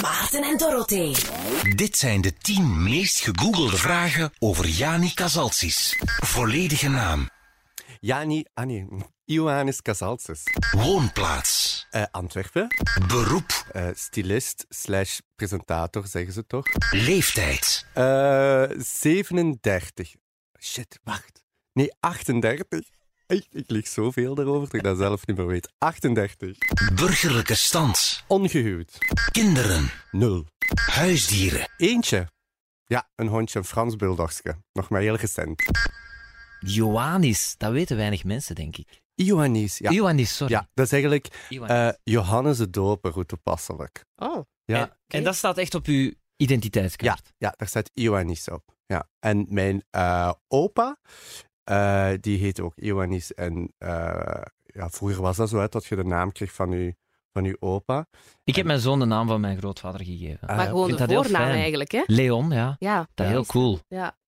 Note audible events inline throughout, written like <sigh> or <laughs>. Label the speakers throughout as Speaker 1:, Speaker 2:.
Speaker 1: Maarten en Dorothee.
Speaker 2: Eh,
Speaker 3: Dit zijn de 10 meest gegoogelde vragen over Jani Casalsis. Volledige naam,
Speaker 2: Jani, ah nee, <laughs> Ioannis Casalses.
Speaker 3: woonplaats,
Speaker 2: Eh, Antwerpen,
Speaker 3: beroep,
Speaker 2: Eh, stylist slash presentator, zeggen ze toch?
Speaker 3: leeftijd,
Speaker 2: Eh, 37. Shit, wacht. Nee, 38. Echt, ik lieg zoveel daarover dat ik dat zelf niet meer weet. 38.
Speaker 3: burgerlijke stand,
Speaker 2: Ongehuwd.
Speaker 3: kinderen,
Speaker 2: Nul.
Speaker 3: huisdieren.
Speaker 2: Eentje. Ja, een hondje, een Frans bulldogske. Nog maar heel recent.
Speaker 4: Ioannis, dat weten weinig mensen, denk ik.
Speaker 2: Ioannis, ja.
Speaker 4: Ioannis, sorry.
Speaker 2: Ja, dat is eigenlijk
Speaker 4: Ioannis.
Speaker 2: eh, Johannes de Doper, hoe toepasselijk.
Speaker 4: oh,
Speaker 2: Ja.
Speaker 4: en, en dat staat echt op uw identiteitskaart.
Speaker 2: Ja, daar staat Ioannis op. Ja. En mijn eh, opa, eh, die heette ook Ioannis. En eh, ja, vroeger was dat zo, hè, dat je de naam kreeg van je, van uw opa.
Speaker 4: Ik heb mijn zoon de naam van mijn grootvader gegeven.
Speaker 2: Ah,
Speaker 5: Maar
Speaker 2: ja.
Speaker 5: gewoon
Speaker 4: vind
Speaker 5: de
Speaker 4: dat heel
Speaker 5: voornaam
Speaker 4: fijn.
Speaker 5: eigenlijk, hè?
Speaker 4: Leon, ja.
Speaker 5: Ja.
Speaker 4: Dat is heel
Speaker 5: juist.
Speaker 4: cool.
Speaker 5: Ja.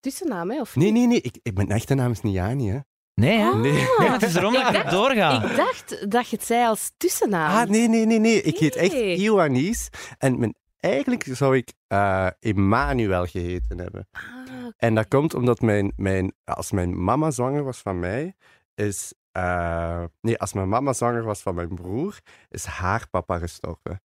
Speaker 5: Tussennaam, hè? Of
Speaker 2: Nee,
Speaker 5: niet?
Speaker 2: nee, nee. Ik, ik, mijn echte naam is niet Jani, hè.
Speaker 4: Nee, hè?
Speaker 5: Ah.
Speaker 2: Nee.
Speaker 4: Nee, maar het is erom dat
Speaker 5: Ik
Speaker 4: ik het
Speaker 5: dacht-
Speaker 4: doorga.
Speaker 5: Ik dacht dat je het zei als tussennaam.
Speaker 2: Ah, nee, nee, nee, nee. Ik heet echt
Speaker 5: Nee.
Speaker 2: Ioannis. En mijn, eigenlijk zou ik eh Emmanuel geheten hebben.
Speaker 5: Ah,
Speaker 2: En dat komt omdat mijn, mijn, als mijn mama zwanger was van mij, is... eh, nee, als mijn mama zwanger was van mijn broer, is haar papa gestorven.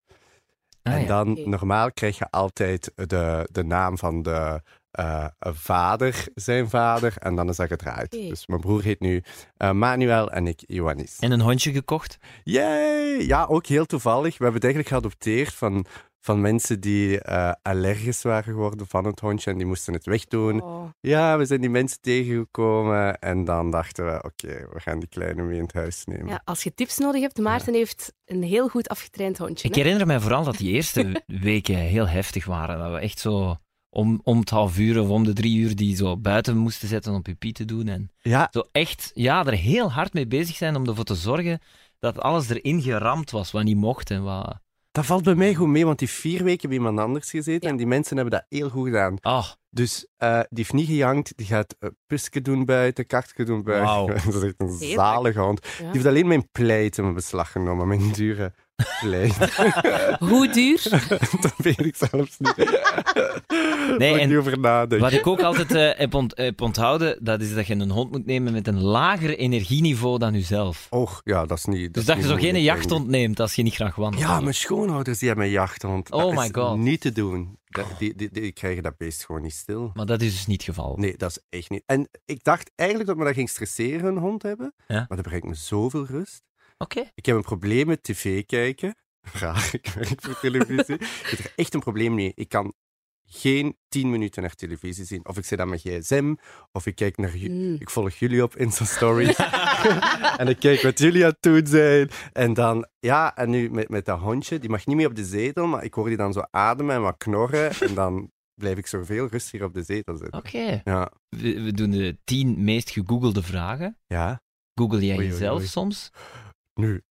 Speaker 4: Ah,
Speaker 2: en
Speaker 4: ja.
Speaker 2: dan,
Speaker 5: Oké.
Speaker 2: normaal krijg je altijd de, de naam van de eh, vader, zijn vader, en dan is dat gedraaid.
Speaker 5: Oké.
Speaker 2: Dus mijn broer heet nu eh, Manuel en ik Ioannis.
Speaker 4: En een hondje gekocht.
Speaker 2: Yay! Ja, ook heel toevallig. We hebben het eigenlijk geadopteerd van, van mensen die eh, allergisch waren geworden van het hondje en die moesten het wegdoen.
Speaker 5: oh.
Speaker 2: Ja, we zijn die mensen tegengekomen en dan dachten we, oké, we gaan die kleine mee in het huis nemen.
Speaker 5: ja, als je tips nodig hebt, Maarten heeft een heel goed afgetraind hondje.
Speaker 4: Ik
Speaker 5: hè?
Speaker 4: herinner mij vooral dat die eerste <laughs> weken heel heftig waren. Dat we echt zo om, om het half uur of om de drie uur die zo buiten moesten zetten om pipi te doen. En
Speaker 2: Ja,
Speaker 4: zo echt, ja, er heel hard mee bezig zijn om ervoor te zorgen dat alles erin geramd was wat niet mocht en wat...
Speaker 2: dat valt bij mij goed mee, want die vier weken hebben iemand anders gezeten
Speaker 5: Ja.
Speaker 2: en die mensen hebben dat heel goed gedaan.
Speaker 4: Ah,
Speaker 2: Dus eh, die heeft niet gejankt, die gaat eh, pusken doen buiten, kartje doen buiten.
Speaker 4: Wauw.
Speaker 2: <laughs> Dat is echt een
Speaker 5: Heerlijk.
Speaker 2: zalige hond.
Speaker 5: Ja.
Speaker 2: Die heeft alleen mijn pleit in beslag genomen,
Speaker 5: <laughs>
Speaker 2: mijn dure pleit.
Speaker 5: Hoe
Speaker 2: <laughs>
Speaker 5: duur?
Speaker 2: dat weet ik zelfs
Speaker 4: <laughs>
Speaker 2: niet.
Speaker 4: Nee,
Speaker 2: Moet ik
Speaker 4: en
Speaker 2: niet over nadenken.
Speaker 4: wat ik ook altijd eh, heb, ont- heb onthouden, dat is dat je een hond moet nemen met een lager energieniveau dan jezelf.
Speaker 2: Och, ja, Oh, dat is niet...
Speaker 4: Dus
Speaker 2: is
Speaker 4: dat je
Speaker 2: niet
Speaker 4: zo geen
Speaker 2: moeilijk,
Speaker 4: jacht
Speaker 2: denk ik.
Speaker 4: ontneemt als je niet graag wandelt.
Speaker 2: Ja, mijn schoonouders die hebben een jachthond.
Speaker 4: Oh
Speaker 2: dat
Speaker 4: my
Speaker 2: is
Speaker 4: God.
Speaker 2: niet te doen. Dat- die, die, die krijgen dat beest gewoon niet stil.
Speaker 4: Maar dat is dus niet het geval.
Speaker 2: Nee, dat is echt niet. En ik dacht eigenlijk dat me dat ging stresseren, een hond hebben.
Speaker 4: Ja.
Speaker 2: Maar dat brengt me zoveel rust.
Speaker 4: Oké.
Speaker 2: Ik heb een probleem met tv kijken. <laughs> Raar, ik werk voor
Speaker 4: <laughs>
Speaker 2: televisie. ik heb er echt een probleem mee. Ik kan geen tien minuten naar televisie zien. Of ik zit aan mijn gsm, of ik kijk naar... ju-
Speaker 5: Mm.
Speaker 2: Ik volg jullie op Insta-stories. en ik kijk wat jullie aan het doen zijn. En dan, ja, en nu met, met dat hondje. Die mag niet meer op de zetel, maar ik hoor die dan zo ademen en wat knorren. en dan blijf ik zoveel rustiger op de zetel zitten.
Speaker 4: Oké.
Speaker 2: Ja.
Speaker 4: We, we doen de tien meest gegoogelde vragen.
Speaker 2: Ja.
Speaker 4: Google jij
Speaker 2: Oei, oei,
Speaker 4: jezelf
Speaker 2: oei.
Speaker 4: soms?
Speaker 2: Nu.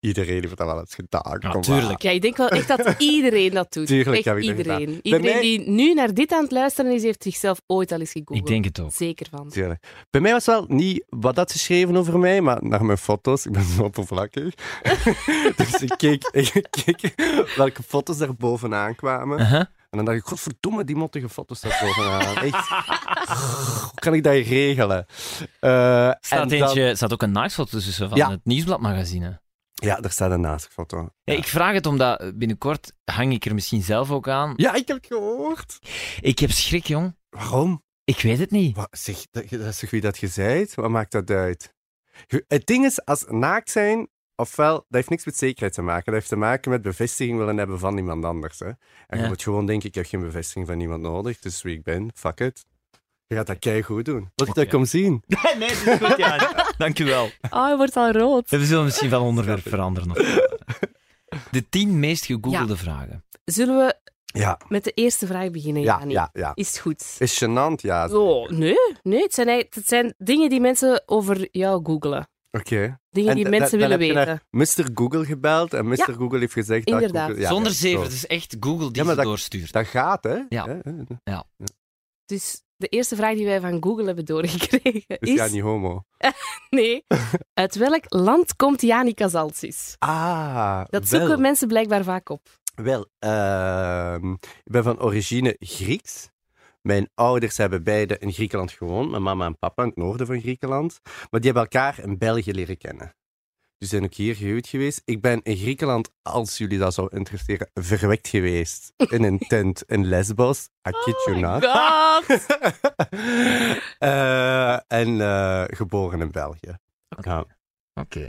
Speaker 2: Iedereen heeft dat wel eens gedaan. kom maar.
Speaker 4: tuurlijk.
Speaker 5: Ja, ik denk wel echt dat iedereen dat doet.
Speaker 2: Tuurlijk
Speaker 5: echt
Speaker 2: heb ik dat
Speaker 5: iedereen.
Speaker 2: gedaan. Bij
Speaker 5: Iedereen
Speaker 2: mij-
Speaker 5: die nu naar dit aan het luisteren is, heeft zichzelf ooit al eens gegoogeld.
Speaker 4: Ik denk het ook.
Speaker 5: Zeker van.
Speaker 2: Tuurlijk. Bij mij was wel niet wat dat ze schreven over mij, maar naar mijn foto's. Ik ben zo oppervlakkig. <laughs> dus ik keek, <laughs> ik keek welke foto's daar bovenaan kwamen.
Speaker 4: Uh-huh.
Speaker 2: En dan dacht ik, godverdomme, die mottige foto's daar bovenaan. Echt. Hoe kan ik dat regelen? Eh, en
Speaker 4: Staat,
Speaker 2: dan-
Speaker 4: eentje, staat ook een naaktfoto tussen van
Speaker 2: Ja.
Speaker 4: het Nieuwsbladmagazine.
Speaker 2: Ja, daar staat een naaktfoto.
Speaker 4: Ja, ik vraag het omdat binnenkort hang ik er misschien zelf ook aan.
Speaker 2: Ja, ik heb het gehoord.
Speaker 4: Ik heb schrik, jong.
Speaker 2: Waarom?
Speaker 4: Ik weet het
Speaker 2: <laughs>
Speaker 4: niet.
Speaker 2: Wat, zeg, dat, dat is toch wie dat je zijt? Wat maakt dat uit? Je- Het ding is, als naakt zijn, ofwel, dat heeft niks met zekerheid te maken. Dat heeft te maken met bevestiging willen hebben van iemand anders. Hè? En je
Speaker 4: Ja.
Speaker 2: moet gewoon denken, ik heb geen bevestiging van iemand nodig, dus wie ik ben, fuck it. Je gaat dat keigoed doen. Wil je dat
Speaker 4: Oké.
Speaker 2: kom zien?
Speaker 4: nee, het is goed, ja. <laughs> Dankjewel.
Speaker 5: Oh, hij wordt al rood.
Speaker 4: We zullen misschien wel onderwerp veranderen. of zo. De tien meest gegoogelde vragen.
Speaker 5: Zullen we
Speaker 2: Ja,
Speaker 5: met de eerste vraag beginnen,
Speaker 2: ja,
Speaker 5: Jani?
Speaker 2: ja, ja.
Speaker 5: Is het goed?
Speaker 2: Is gênant, ja.
Speaker 5: Oh, nee, nee het, zijn, eigenlijk- het zijn dingen die mensen over jou googlen.
Speaker 2: Oké.
Speaker 5: Dingen
Speaker 2: En
Speaker 5: die
Speaker 2: da-
Speaker 5: mensen
Speaker 2: dan
Speaker 5: willen
Speaker 2: heb je naar
Speaker 5: weten.
Speaker 2: Mr. Google gebeld en Mr.
Speaker 5: Ja.
Speaker 2: Google heeft gezegd dat
Speaker 5: Inderdaad.
Speaker 2: Google- ja,
Speaker 4: Zonder
Speaker 2: ja,
Speaker 4: zeven,
Speaker 2: zo.
Speaker 4: het is echt Google die
Speaker 2: Ja, maar
Speaker 4: ze
Speaker 2: dat-
Speaker 4: doorstuurt.
Speaker 2: Dat gaat, hè?
Speaker 4: Ja.
Speaker 2: Hè?
Speaker 5: Dus de eerste vraag die wij van Google hebben doorgekregen
Speaker 2: Dus
Speaker 5: is...
Speaker 2: ja, niet homo.
Speaker 5: <laughs> Nee. Uit welk land komt Jani Casalsis?
Speaker 2: Ah,
Speaker 5: Dat
Speaker 2: wel.
Speaker 5: zoeken mensen blijkbaar vaak op.
Speaker 2: Ah, Wel, ehm, ik ben van origine Grieks. Mijn ouders hebben beide in Griekenland gewoond. Mijn mama en papa in het noorden van Griekenland. Maar die hebben elkaar in België leren kennen. Dus zijn ook hier gehuwd geweest. Ik ben in Griekenland, als jullie dat zou interesseren, verwekt geweest. In
Speaker 5: <laughs>
Speaker 2: een tent in Lesbos. I kid
Speaker 4: Oh
Speaker 2: you not.
Speaker 5: Oh
Speaker 4: <laughs>
Speaker 5: God.
Speaker 2: <laughs> Eh, en eh, geboren in België. Ja.
Speaker 4: Oké.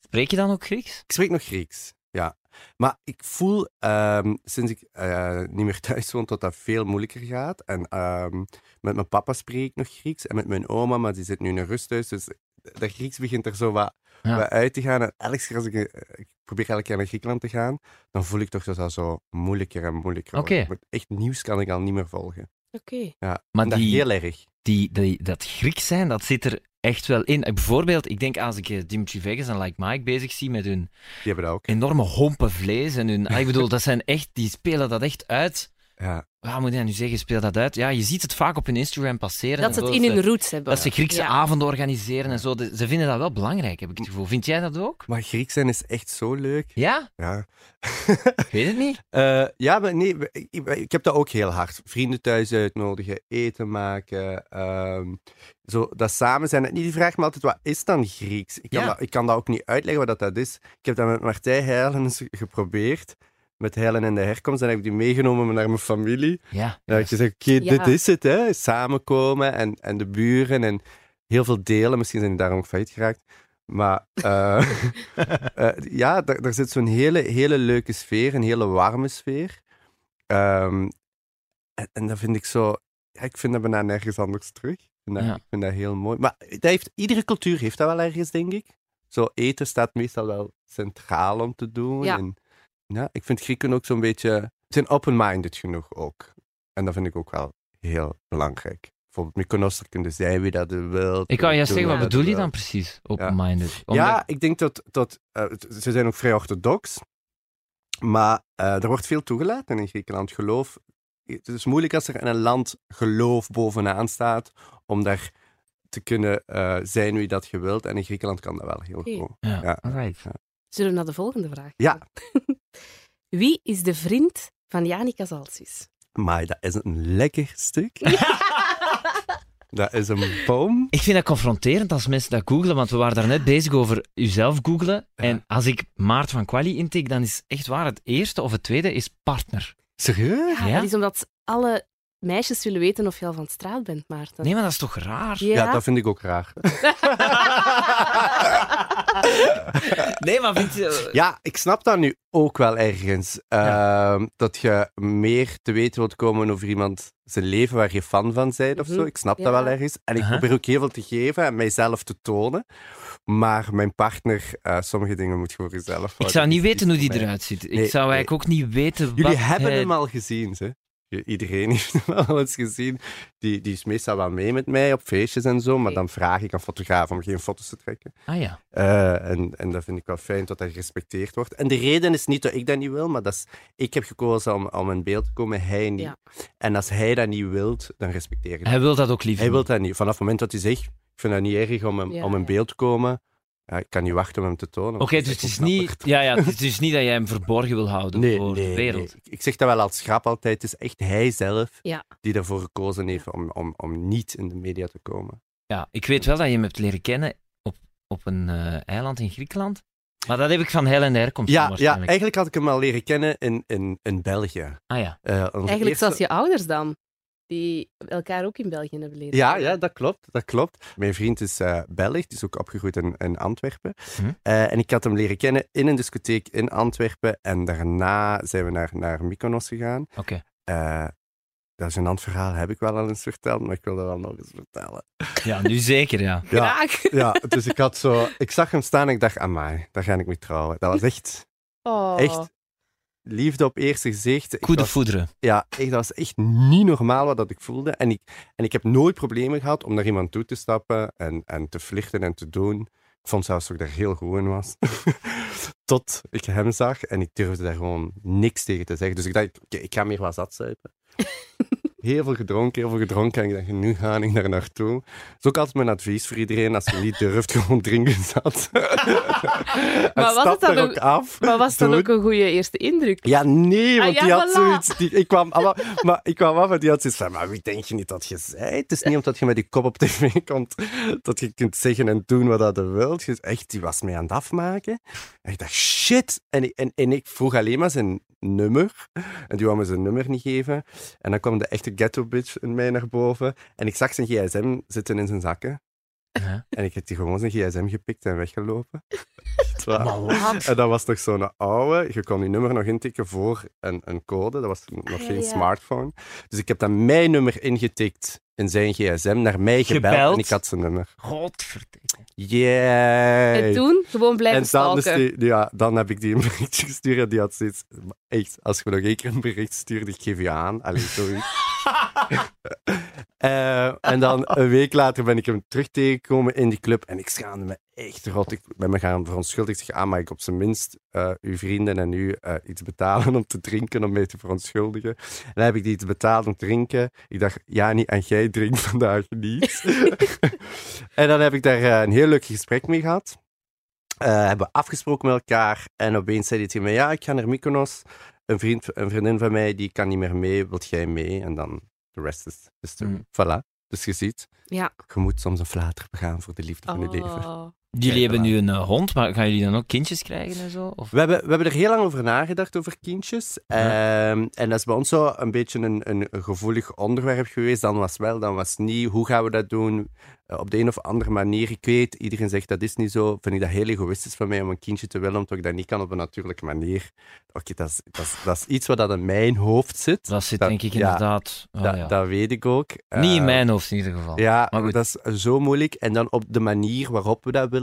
Speaker 4: Spreek je dan ook Grieks?
Speaker 2: Ik spreek nog Grieks, ja. Maar ik voel, ehm, sinds ik eh, niet meer thuis woon, dat dat veel moeilijker gaat. En ehm, met mijn papa spreek ik nog Grieks. En met mijn oma, maar die zit nu in een rusthuis. Dus dat Grieks begint er zo wat,
Speaker 4: Ja.
Speaker 2: wat uit te gaan. En elke keer als ik, eh, ik probeer elke keer naar Griekenland te gaan, dan voel ik toch dat dat zo moeilijker en moeilijker wordt.
Speaker 4: Oké.
Speaker 2: Maar Echt nieuws kan ik al niet meer volgen.
Speaker 5: Oké.
Speaker 2: Ja,
Speaker 4: Maar
Speaker 2: en dat
Speaker 4: die-
Speaker 2: heel erg.
Speaker 4: Die, die, dat Grieks zijn, dat zit er echt wel in. Eh, Bijvoorbeeld, ik denk als ik eh, Dimitri Vegas en Like Mike bezig zie met hun
Speaker 2: Die hebben dat ook.
Speaker 4: enorme hompen vlees en hun... Ah, ik bedoel, dat zijn echt... Die spelen dat echt uit.
Speaker 2: Ja.
Speaker 4: Wat moet je nu zeggen? Speel dat uit? Ja, je ziet het vaak op hun Instagram passeren.
Speaker 5: Dat ze het
Speaker 4: Zo,
Speaker 5: in hun roots hebben.
Speaker 4: Dat ze Griekse
Speaker 5: Ja.
Speaker 4: avonden organiseren en zo. De- Ze vinden dat wel belangrijk, heb ik het gevoel. Vind jij dat ook?
Speaker 2: Maar Grieks zijn is echt zo leuk.
Speaker 4: Ja?
Speaker 2: Ja. <laughs>
Speaker 4: Ik weet het niet.
Speaker 2: Eh, ja, maar nee, we- ik, ik- ik heb dat ook heel hard. Vrienden thuis uitnodigen, eten maken. ehm, zo, dat samen zijn. En die vraagt me altijd, wat is dan Grieks? Ik kan,
Speaker 4: Ja.
Speaker 2: dat, ik kan dat ook niet uitleggen wat dat, dat is. Ik heb dat met Martijn Heilens geprobeerd. Met Heilen en de herkomst. En heb ik die meegenomen naar mijn familie.
Speaker 4: Ja.
Speaker 2: Dan heb ik gezegd, oké,
Speaker 5: Ja.
Speaker 2: dit is het. Hè? Samenkomen en, en de buren en heel veel delen. Misschien zijn die daarom ook failliet geraakt. Maar eh, eh, ja, daar, daar zit zo'n hele, hele leuke sfeer, een hele warme sfeer. Ehm, en, en dat vind ik zo... Ja, ik vind dat bijna nergens anders terug. Ik vind dat,
Speaker 4: Ja.
Speaker 2: ik vind dat heel mooi. Maar dat heeft, iedere cultuur heeft dat wel ergens, denk ik. Zo eten staat meestal wel centraal om te doen.
Speaker 5: Ja.
Speaker 2: En, ja, ik vind Grieken ook zo'n beetje... Ze zijn open-minded genoeg ook. En dat vind ik ook wel heel belangrijk. Bijvoorbeeld Mykonos, daar kun je zijn wie dat je wilt.
Speaker 4: Ik kan
Speaker 2: doen
Speaker 4: juist zeggen, wat
Speaker 5: Ja.
Speaker 2: je
Speaker 4: bedoel je
Speaker 2: wilt.
Speaker 4: dan precies? Open-minded. Omdat-
Speaker 2: Ja, ik denk dat... dat eh, het- ze zijn ook vrij orthodox. Maar eh, er wordt veel toegelaten in Griekenland. Geloof... Het is moeilijk als er in een land geloof bovenaan staat, om daar te kunnen eh, zijn wie dat je wilt. En in Griekenland kan dat wel heel
Speaker 5: Oké.
Speaker 2: goed.
Speaker 4: Ja,
Speaker 2: Ja.
Speaker 4: alright.
Speaker 5: Zullen we naar de volgende vraag
Speaker 2: Ja.
Speaker 5: gaan? <laughs> Wie is de vriend van Jani Casalsis?
Speaker 2: Maar dat is een lekker stuk. dat is een boom.
Speaker 4: Ik vind dat confronterend als mensen dat googelen, want we waren daarnet bezig over uzelf googelen. En als ik Maart van Quali intik, dan is echt waar het eerste of het tweede is partner.
Speaker 2: Serieus?
Speaker 5: Ja,
Speaker 4: Ja?
Speaker 5: Dat is omdat alle meisjes willen weten of je al van straat bent, Maarten.
Speaker 4: Nee, maar dat is toch raar?
Speaker 5: Ja.
Speaker 2: Ja, dat vind ik ook raar.
Speaker 5: <laughs>
Speaker 4: Nee, maar vind je...
Speaker 2: Ja, ik snap dat nu ook wel ergens. Ehm, dat je meer te weten wilt komen over iemand zijn leven waar je fan van bent of
Speaker 5: Mhm.
Speaker 2: zo. Ik snap
Speaker 5: Ja.
Speaker 2: dat wel ergens. En ik
Speaker 4: Aha.
Speaker 2: probeer ook heel veel te geven en mijzelf te tonen. Maar mijn partner, eh, sommige dingen moet je voor jezelf houden.
Speaker 4: Ik zou niet
Speaker 2: Dat is
Speaker 4: weten hoe die
Speaker 2: voor mij.
Speaker 4: eruit eh, ziet. Ik
Speaker 2: Nee,
Speaker 4: zou eigenlijk ook niet weten wat...
Speaker 2: Jullie hebben
Speaker 4: hij-
Speaker 2: hem al gezien, hè? Je- Iedereen <laughs> heeft hem al eens gezien. Die, die is meestal wel mee met mij op feestjes en zo. Maar
Speaker 5: Oké.
Speaker 2: dan vraag ik aan fotografen om geen foto's te trekken.
Speaker 4: Ah ja.
Speaker 2: Eh, en, en dat vind ik wel fijn dat dat gerespecteerd wordt. En de reden is niet dat ik dat niet wil, maar dat is, ik heb gekozen om, om in beeld te komen, hij niet.
Speaker 5: Ja.
Speaker 2: En als hij dat niet wilt, dan respecteer ik dat.
Speaker 4: Hij wil dat ook liever.
Speaker 2: Hij wil dat niet. Vanaf het moment dat hij zegt, ik vind dat niet erg om, hem,
Speaker 5: Ja,
Speaker 2: om in
Speaker 5: ja.
Speaker 2: beeld te komen, ja, ik kan niet wachten om hem te tonen.
Speaker 4: Oké, dus het is, niet,
Speaker 2: ontsnapperd.
Speaker 4: ja, ja, het is dus niet dat jij hem verborgen wil houden
Speaker 2: Nee,
Speaker 4: voor
Speaker 2: nee,
Speaker 4: de wereld.
Speaker 2: nee. Ik- Ik zeg dat wel als grap altijd. Het is echt hij zelf
Speaker 5: Ja.
Speaker 2: die ervoor gekozen heeft om, om, om niet in de media te komen.
Speaker 4: Ja, ik weet wel dat je hem hebt leren kennen op, op een eh, eiland in Griekenland. Maar dat heb ik van Helen en de herkomst
Speaker 2: Ja, ja,
Speaker 4: waarschijnlijk.
Speaker 2: eigenlijk had ik hem al leren kennen in, in, in België.
Speaker 4: Ah ja.
Speaker 2: Eh, onze
Speaker 5: Eigenlijk
Speaker 2: eerste-
Speaker 5: zoals je ouders dan, die elkaar ook in België hebben leren
Speaker 2: Ja,
Speaker 5: kennen.
Speaker 2: ja, dat klopt, dat klopt. Mijn vriend is eh Belg, die is ook opgegroeid in, in Antwerpen.
Speaker 4: Hm.
Speaker 2: Eh, en ik had hem leren kennen in een discotheek in Antwerpen. En daarna zijn we naar, naar Mykonos gegaan.
Speaker 4: Oké.
Speaker 2: Eh, dat is een ander verhaal, heb ik wel al eens verteld, maar ik wil dat wel nog eens vertellen.
Speaker 4: Ja, nu zeker, ja.
Speaker 2: Ja,
Speaker 5: Graag.
Speaker 2: ja, dus ik had zo... Ik zag hem staan en ik dacht, amai, daar ga ik mee trouwen. Dat was echt,
Speaker 5: Oh.
Speaker 2: echt liefde op eerste gezicht. Ik
Speaker 4: Goede
Speaker 2: was-
Speaker 4: voederen.
Speaker 2: ja, echt, dat was echt niet normaal wat dat ik voelde. En ik, en ik heb nooit problemen gehad om naar iemand toe te stappen en, en te flirten en te doen. Ik vond zelfs dat ik daar heel goed in was. <laughs> Tot ik hem
Speaker 5: <laughs>
Speaker 2: zag en ik durfde daar gewoon niks tegen te zeggen. Dus ik dacht, oké, ik ga meer wat zat zuipen. heel veel gedronken, heel veel gedronken. En ik dacht, nu ga ik daar naartoe. Dat is ook altijd mijn advies voor iedereen. Als je niet durft, <laughs> gewoon drinken
Speaker 5: <laughs>
Speaker 2: zat. <laughs> en
Speaker 5: was het
Speaker 2: stap
Speaker 5: dan
Speaker 2: er ook,
Speaker 5: ook-
Speaker 2: af.
Speaker 5: Maar was dan
Speaker 2: Doe
Speaker 5: ook een goede eerste indruk?
Speaker 2: Ja, nee,
Speaker 5: Ah,
Speaker 2: want
Speaker 5: ja,
Speaker 2: die had
Speaker 5: voilà.
Speaker 2: zoiets... Die, ik, kwam, alla- maar, ik kwam af en die had zoiets van, maar wie denk je niet dat je zei? Het is niet omdat je met je kop op tv komt dat je kunt zeggen en doen wat dat je wilt. Je- Echt, die was mij aan het afmaken. En ik dacht, shit. En, ik- en, en ik vroeg alleen maar zijn nummer. En die wou me zijn nummer niet geven. En dan kwam de echte ghetto bitch in mij naar boven. En ik zag zijn gsm zitten in zijn zakken.
Speaker 4: Ja.
Speaker 2: En ik heb die gewoon zijn gsm gepikt en weggelopen. Echt waar. En dat was nog zo'n oude. Je kon je nummer nog intikken voor een, een code. Dat was nog
Speaker 5: ja,
Speaker 2: geen
Speaker 5: Ah, ja.
Speaker 2: smartphone. Dus ik heb dan mijn nummer ingetikt in zijn gsm, naar mij gebeld,
Speaker 4: Gebeld?
Speaker 2: en ik had zijn nummer.
Speaker 4: Godverdikke.
Speaker 2: Yeah!
Speaker 5: En toen gewoon blijven
Speaker 2: En dan, is
Speaker 5: stalken.
Speaker 2: die- ja, dan heb ik die een berichtje gestuurd en die had zoiets... Echt, als je me nog één keer een bericht stuurt, ik geef je aan. Allee, sorry. Eh, en dan een week later ben ik hem terug tegengekomen in die club en ik schaamde me echt rot. Ik ben me gaan verontschuldigen. Ik zeg, ah, maar ik op zijn minst eh, uw vrienden en u eh, iets betalen om te drinken, om mee te verontschuldigen. En dan heb ik die iets betaald om te drinken. Ik dacht, Jani, en jij drinkt <laughs> vandaag niet. en dan heb ik daar eh, een heel leuk gesprek mee gehad. Eh, hebben we afgesproken met elkaar en opeens zei hij tegen mij, ja, ik ga naar Mykonos. Een, vriend, een vriendin van mij, die kan niet meer mee, wilt jij mee? En dan de rest is history.
Speaker 4: Mm.
Speaker 2: Voilà. Dus je ziet,
Speaker 5: Ja.
Speaker 2: je moet soms een flater begaan voor de liefde van je leven.
Speaker 5: Oh.
Speaker 4: Jullie
Speaker 2: Kijk,
Speaker 4: hebben
Speaker 2: voilà.
Speaker 4: nu een eh, hond, maar gaan jullie dan ook kindjes krijgen en zo? Of...
Speaker 2: We hebben, we hebben er heel lang over nagedacht, over kindjes. Ehm, en dat is bij ons zo een beetje een, een gevoelig onderwerp geweest. Dan was wel, dan was niet. Hoe gaan we dat doen? Eh, op de een of andere manier. Ik weet, iedereen zegt dat is niet zo. Vind ik dat heel egoïstisch van mij om een kindje te willen, omdat ik dat niet kan op een natuurlijke manier. Oké, dat, is, dat, is, dat is iets wat dat in mijn hoofd zit.
Speaker 4: Dat zit
Speaker 2: Dat-
Speaker 4: denk ik
Speaker 2: ja.
Speaker 4: inderdaad... oh,
Speaker 2: dat,
Speaker 4: ja.
Speaker 2: dat weet ik ook.
Speaker 4: Niet in
Speaker 2: Ehm,
Speaker 4: mijn hoofd in ieder geval.
Speaker 2: ja,
Speaker 4: Maar goed.
Speaker 2: dat is zo moeilijk. En dan op de manier waarop we dat willen,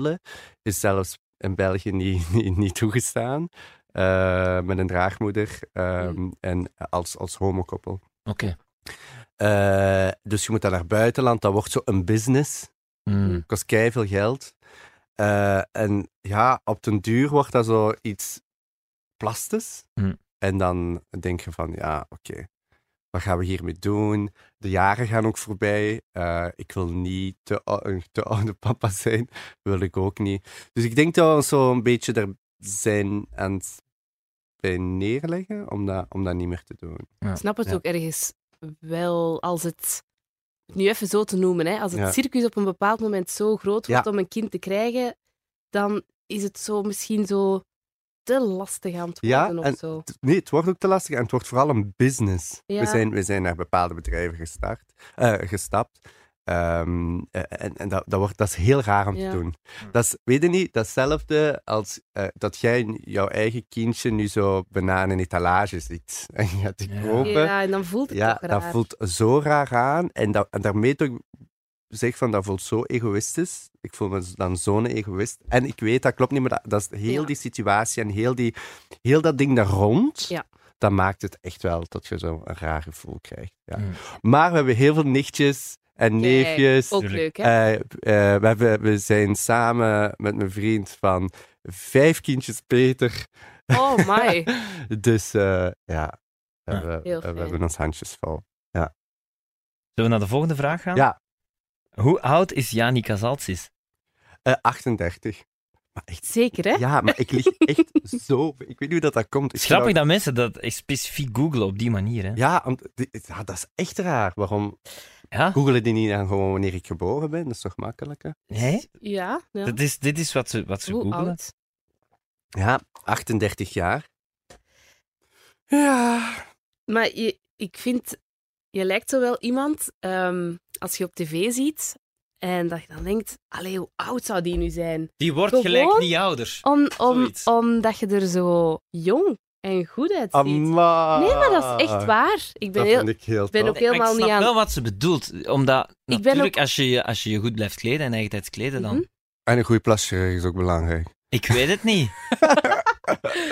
Speaker 2: is zelfs in België niet, <laughs> niet, niet toegestaan. Eh, met een draagmoeder ehm,
Speaker 4: Hmm.
Speaker 2: en als, als homokoppel.
Speaker 4: Oké.
Speaker 2: Eh, dus je moet dan naar buitenland, dat wordt zo een business.
Speaker 4: Mm.
Speaker 2: Kost kei veel geld. Eh, en ja, op den duur wordt dat zo iets plastisch.
Speaker 4: Mm.
Speaker 2: En dan denk je van, ja, oké, wat gaan we hiermee doen? De jaren gaan ook voorbij. Eh, ik wil niet te, ou- <laughs> een te oude papa zijn. Wil ik ook niet. Dus ik denk dat we zo een beetje er zijn aan het bij neerleggen om dat, om dat niet meer te doen.
Speaker 5: Ik snap het
Speaker 2: Ja.
Speaker 5: ook ergens wel als het. Nu even zo te noemen, hè, als het
Speaker 2: Ja.
Speaker 5: circus op een bepaald moment zo groot wordt om een kind te krijgen, dan is het zo misschien zo te lastig aan het
Speaker 2: Ja,
Speaker 5: worden of
Speaker 2: en-
Speaker 5: zo.
Speaker 2: Het- Nee, het wordt ook te lastig en het wordt vooral een business.
Speaker 5: Ja.
Speaker 2: We, zijn, we zijn naar bepaalde bedrijven gestart, eh, gestapt. Ehm, eh, en en dat, dat, wordt, dat is heel raar om
Speaker 5: Ja. Hm.
Speaker 2: te doen. Dat is, weet je niet, datzelfde als eh, dat jij jouw eigen kindje nu zo banaan in etalage ziet. En je gaat die
Speaker 4: Ja.
Speaker 2: kopen.
Speaker 5: Ja, en dan voelt het
Speaker 2: Ja,
Speaker 5: toch
Speaker 2: dat
Speaker 5: raar.
Speaker 2: voelt zo raar aan. En, dat, en daarmee dat ik zeg van, dat voelt zo egoïstisch. Ik voel me dan zo'n egoïst. En ik weet, dat klopt niet, maar dat, dat is heel
Speaker 5: Ja.
Speaker 2: die situatie en heel, die, heel dat ding daar rond.
Speaker 5: Ja.
Speaker 2: Dat maakt het echt wel dat je zo'n raar gevoel krijgt. Ja.
Speaker 4: Mm.
Speaker 2: Maar we hebben heel veel nichtjes en
Speaker 5: Kijk,
Speaker 2: neefjes.
Speaker 5: Ook leuk, hè?
Speaker 2: Eh, eh, we, hebben- we zijn samen met mijn vriend van vijf kindjes Peter. Eh.
Speaker 5: Oh my.
Speaker 2: <laughs> Dus eh, ja,
Speaker 4: Ja.
Speaker 2: we,
Speaker 5: Heel
Speaker 2: we
Speaker 5: fijn.
Speaker 2: hebben ons handjes vol.
Speaker 4: Zullen we naar de volgende vraag gaan?
Speaker 2: Ja.
Speaker 4: Hoe oud is Jani Casalsis?
Speaker 2: Eh, 38. Maar echt,
Speaker 5: Zeker, hè?
Speaker 2: ja, maar ik lig
Speaker 5: <laughs>
Speaker 2: echt zo. Ik weet niet hoe dat, dat komt.
Speaker 4: Het
Speaker 2: Ik
Speaker 4: is grappig
Speaker 2: geloof-
Speaker 4: dat mensen dat echt specifiek googlen op die manier. Hè?
Speaker 2: Ja, want die- ja, dat is echt raar. Waarom
Speaker 4: Ja?
Speaker 2: googelen die niet dan gewoon wanneer ik geboren ben? Dat is toch makkelijker?
Speaker 4: Nee?
Speaker 5: Ja. ja.
Speaker 4: Dat is, dit is wat ze, wat ze
Speaker 5: Hoe
Speaker 4: googelen.
Speaker 5: oud?
Speaker 2: Ja, 38 jaar. Ja.
Speaker 5: Maar je, ik vind, je lijkt zo wel iemand, ehm, als je op tv ziet, en dat je dan denkt, allee, hoe oud zou die nu zijn?
Speaker 4: Die wordt
Speaker 5: Gewoon? gelijk
Speaker 4: niet ouder.
Speaker 5: Om, om,
Speaker 4: Zoiets.
Speaker 5: omdat je er zo jong en goed uitziet.
Speaker 2: Amai.
Speaker 5: Nee, maar dat is echt waar. Ik ben,
Speaker 2: Dat
Speaker 5: heel,
Speaker 2: vind ik heel
Speaker 5: ik ben
Speaker 2: tof.
Speaker 5: ook helemaal
Speaker 4: ik
Speaker 5: niet
Speaker 4: snap
Speaker 5: aan.
Speaker 4: wel wat ze bedoelt. Omdat
Speaker 5: ben
Speaker 4: natuurlijk, als, je, je- als je je goed blijft kleden en eigentijds kleden, dan...
Speaker 5: Mhm.
Speaker 2: En een goede plasje is ook belangrijk.
Speaker 4: Ik weet het
Speaker 2: <laughs>
Speaker 4: niet.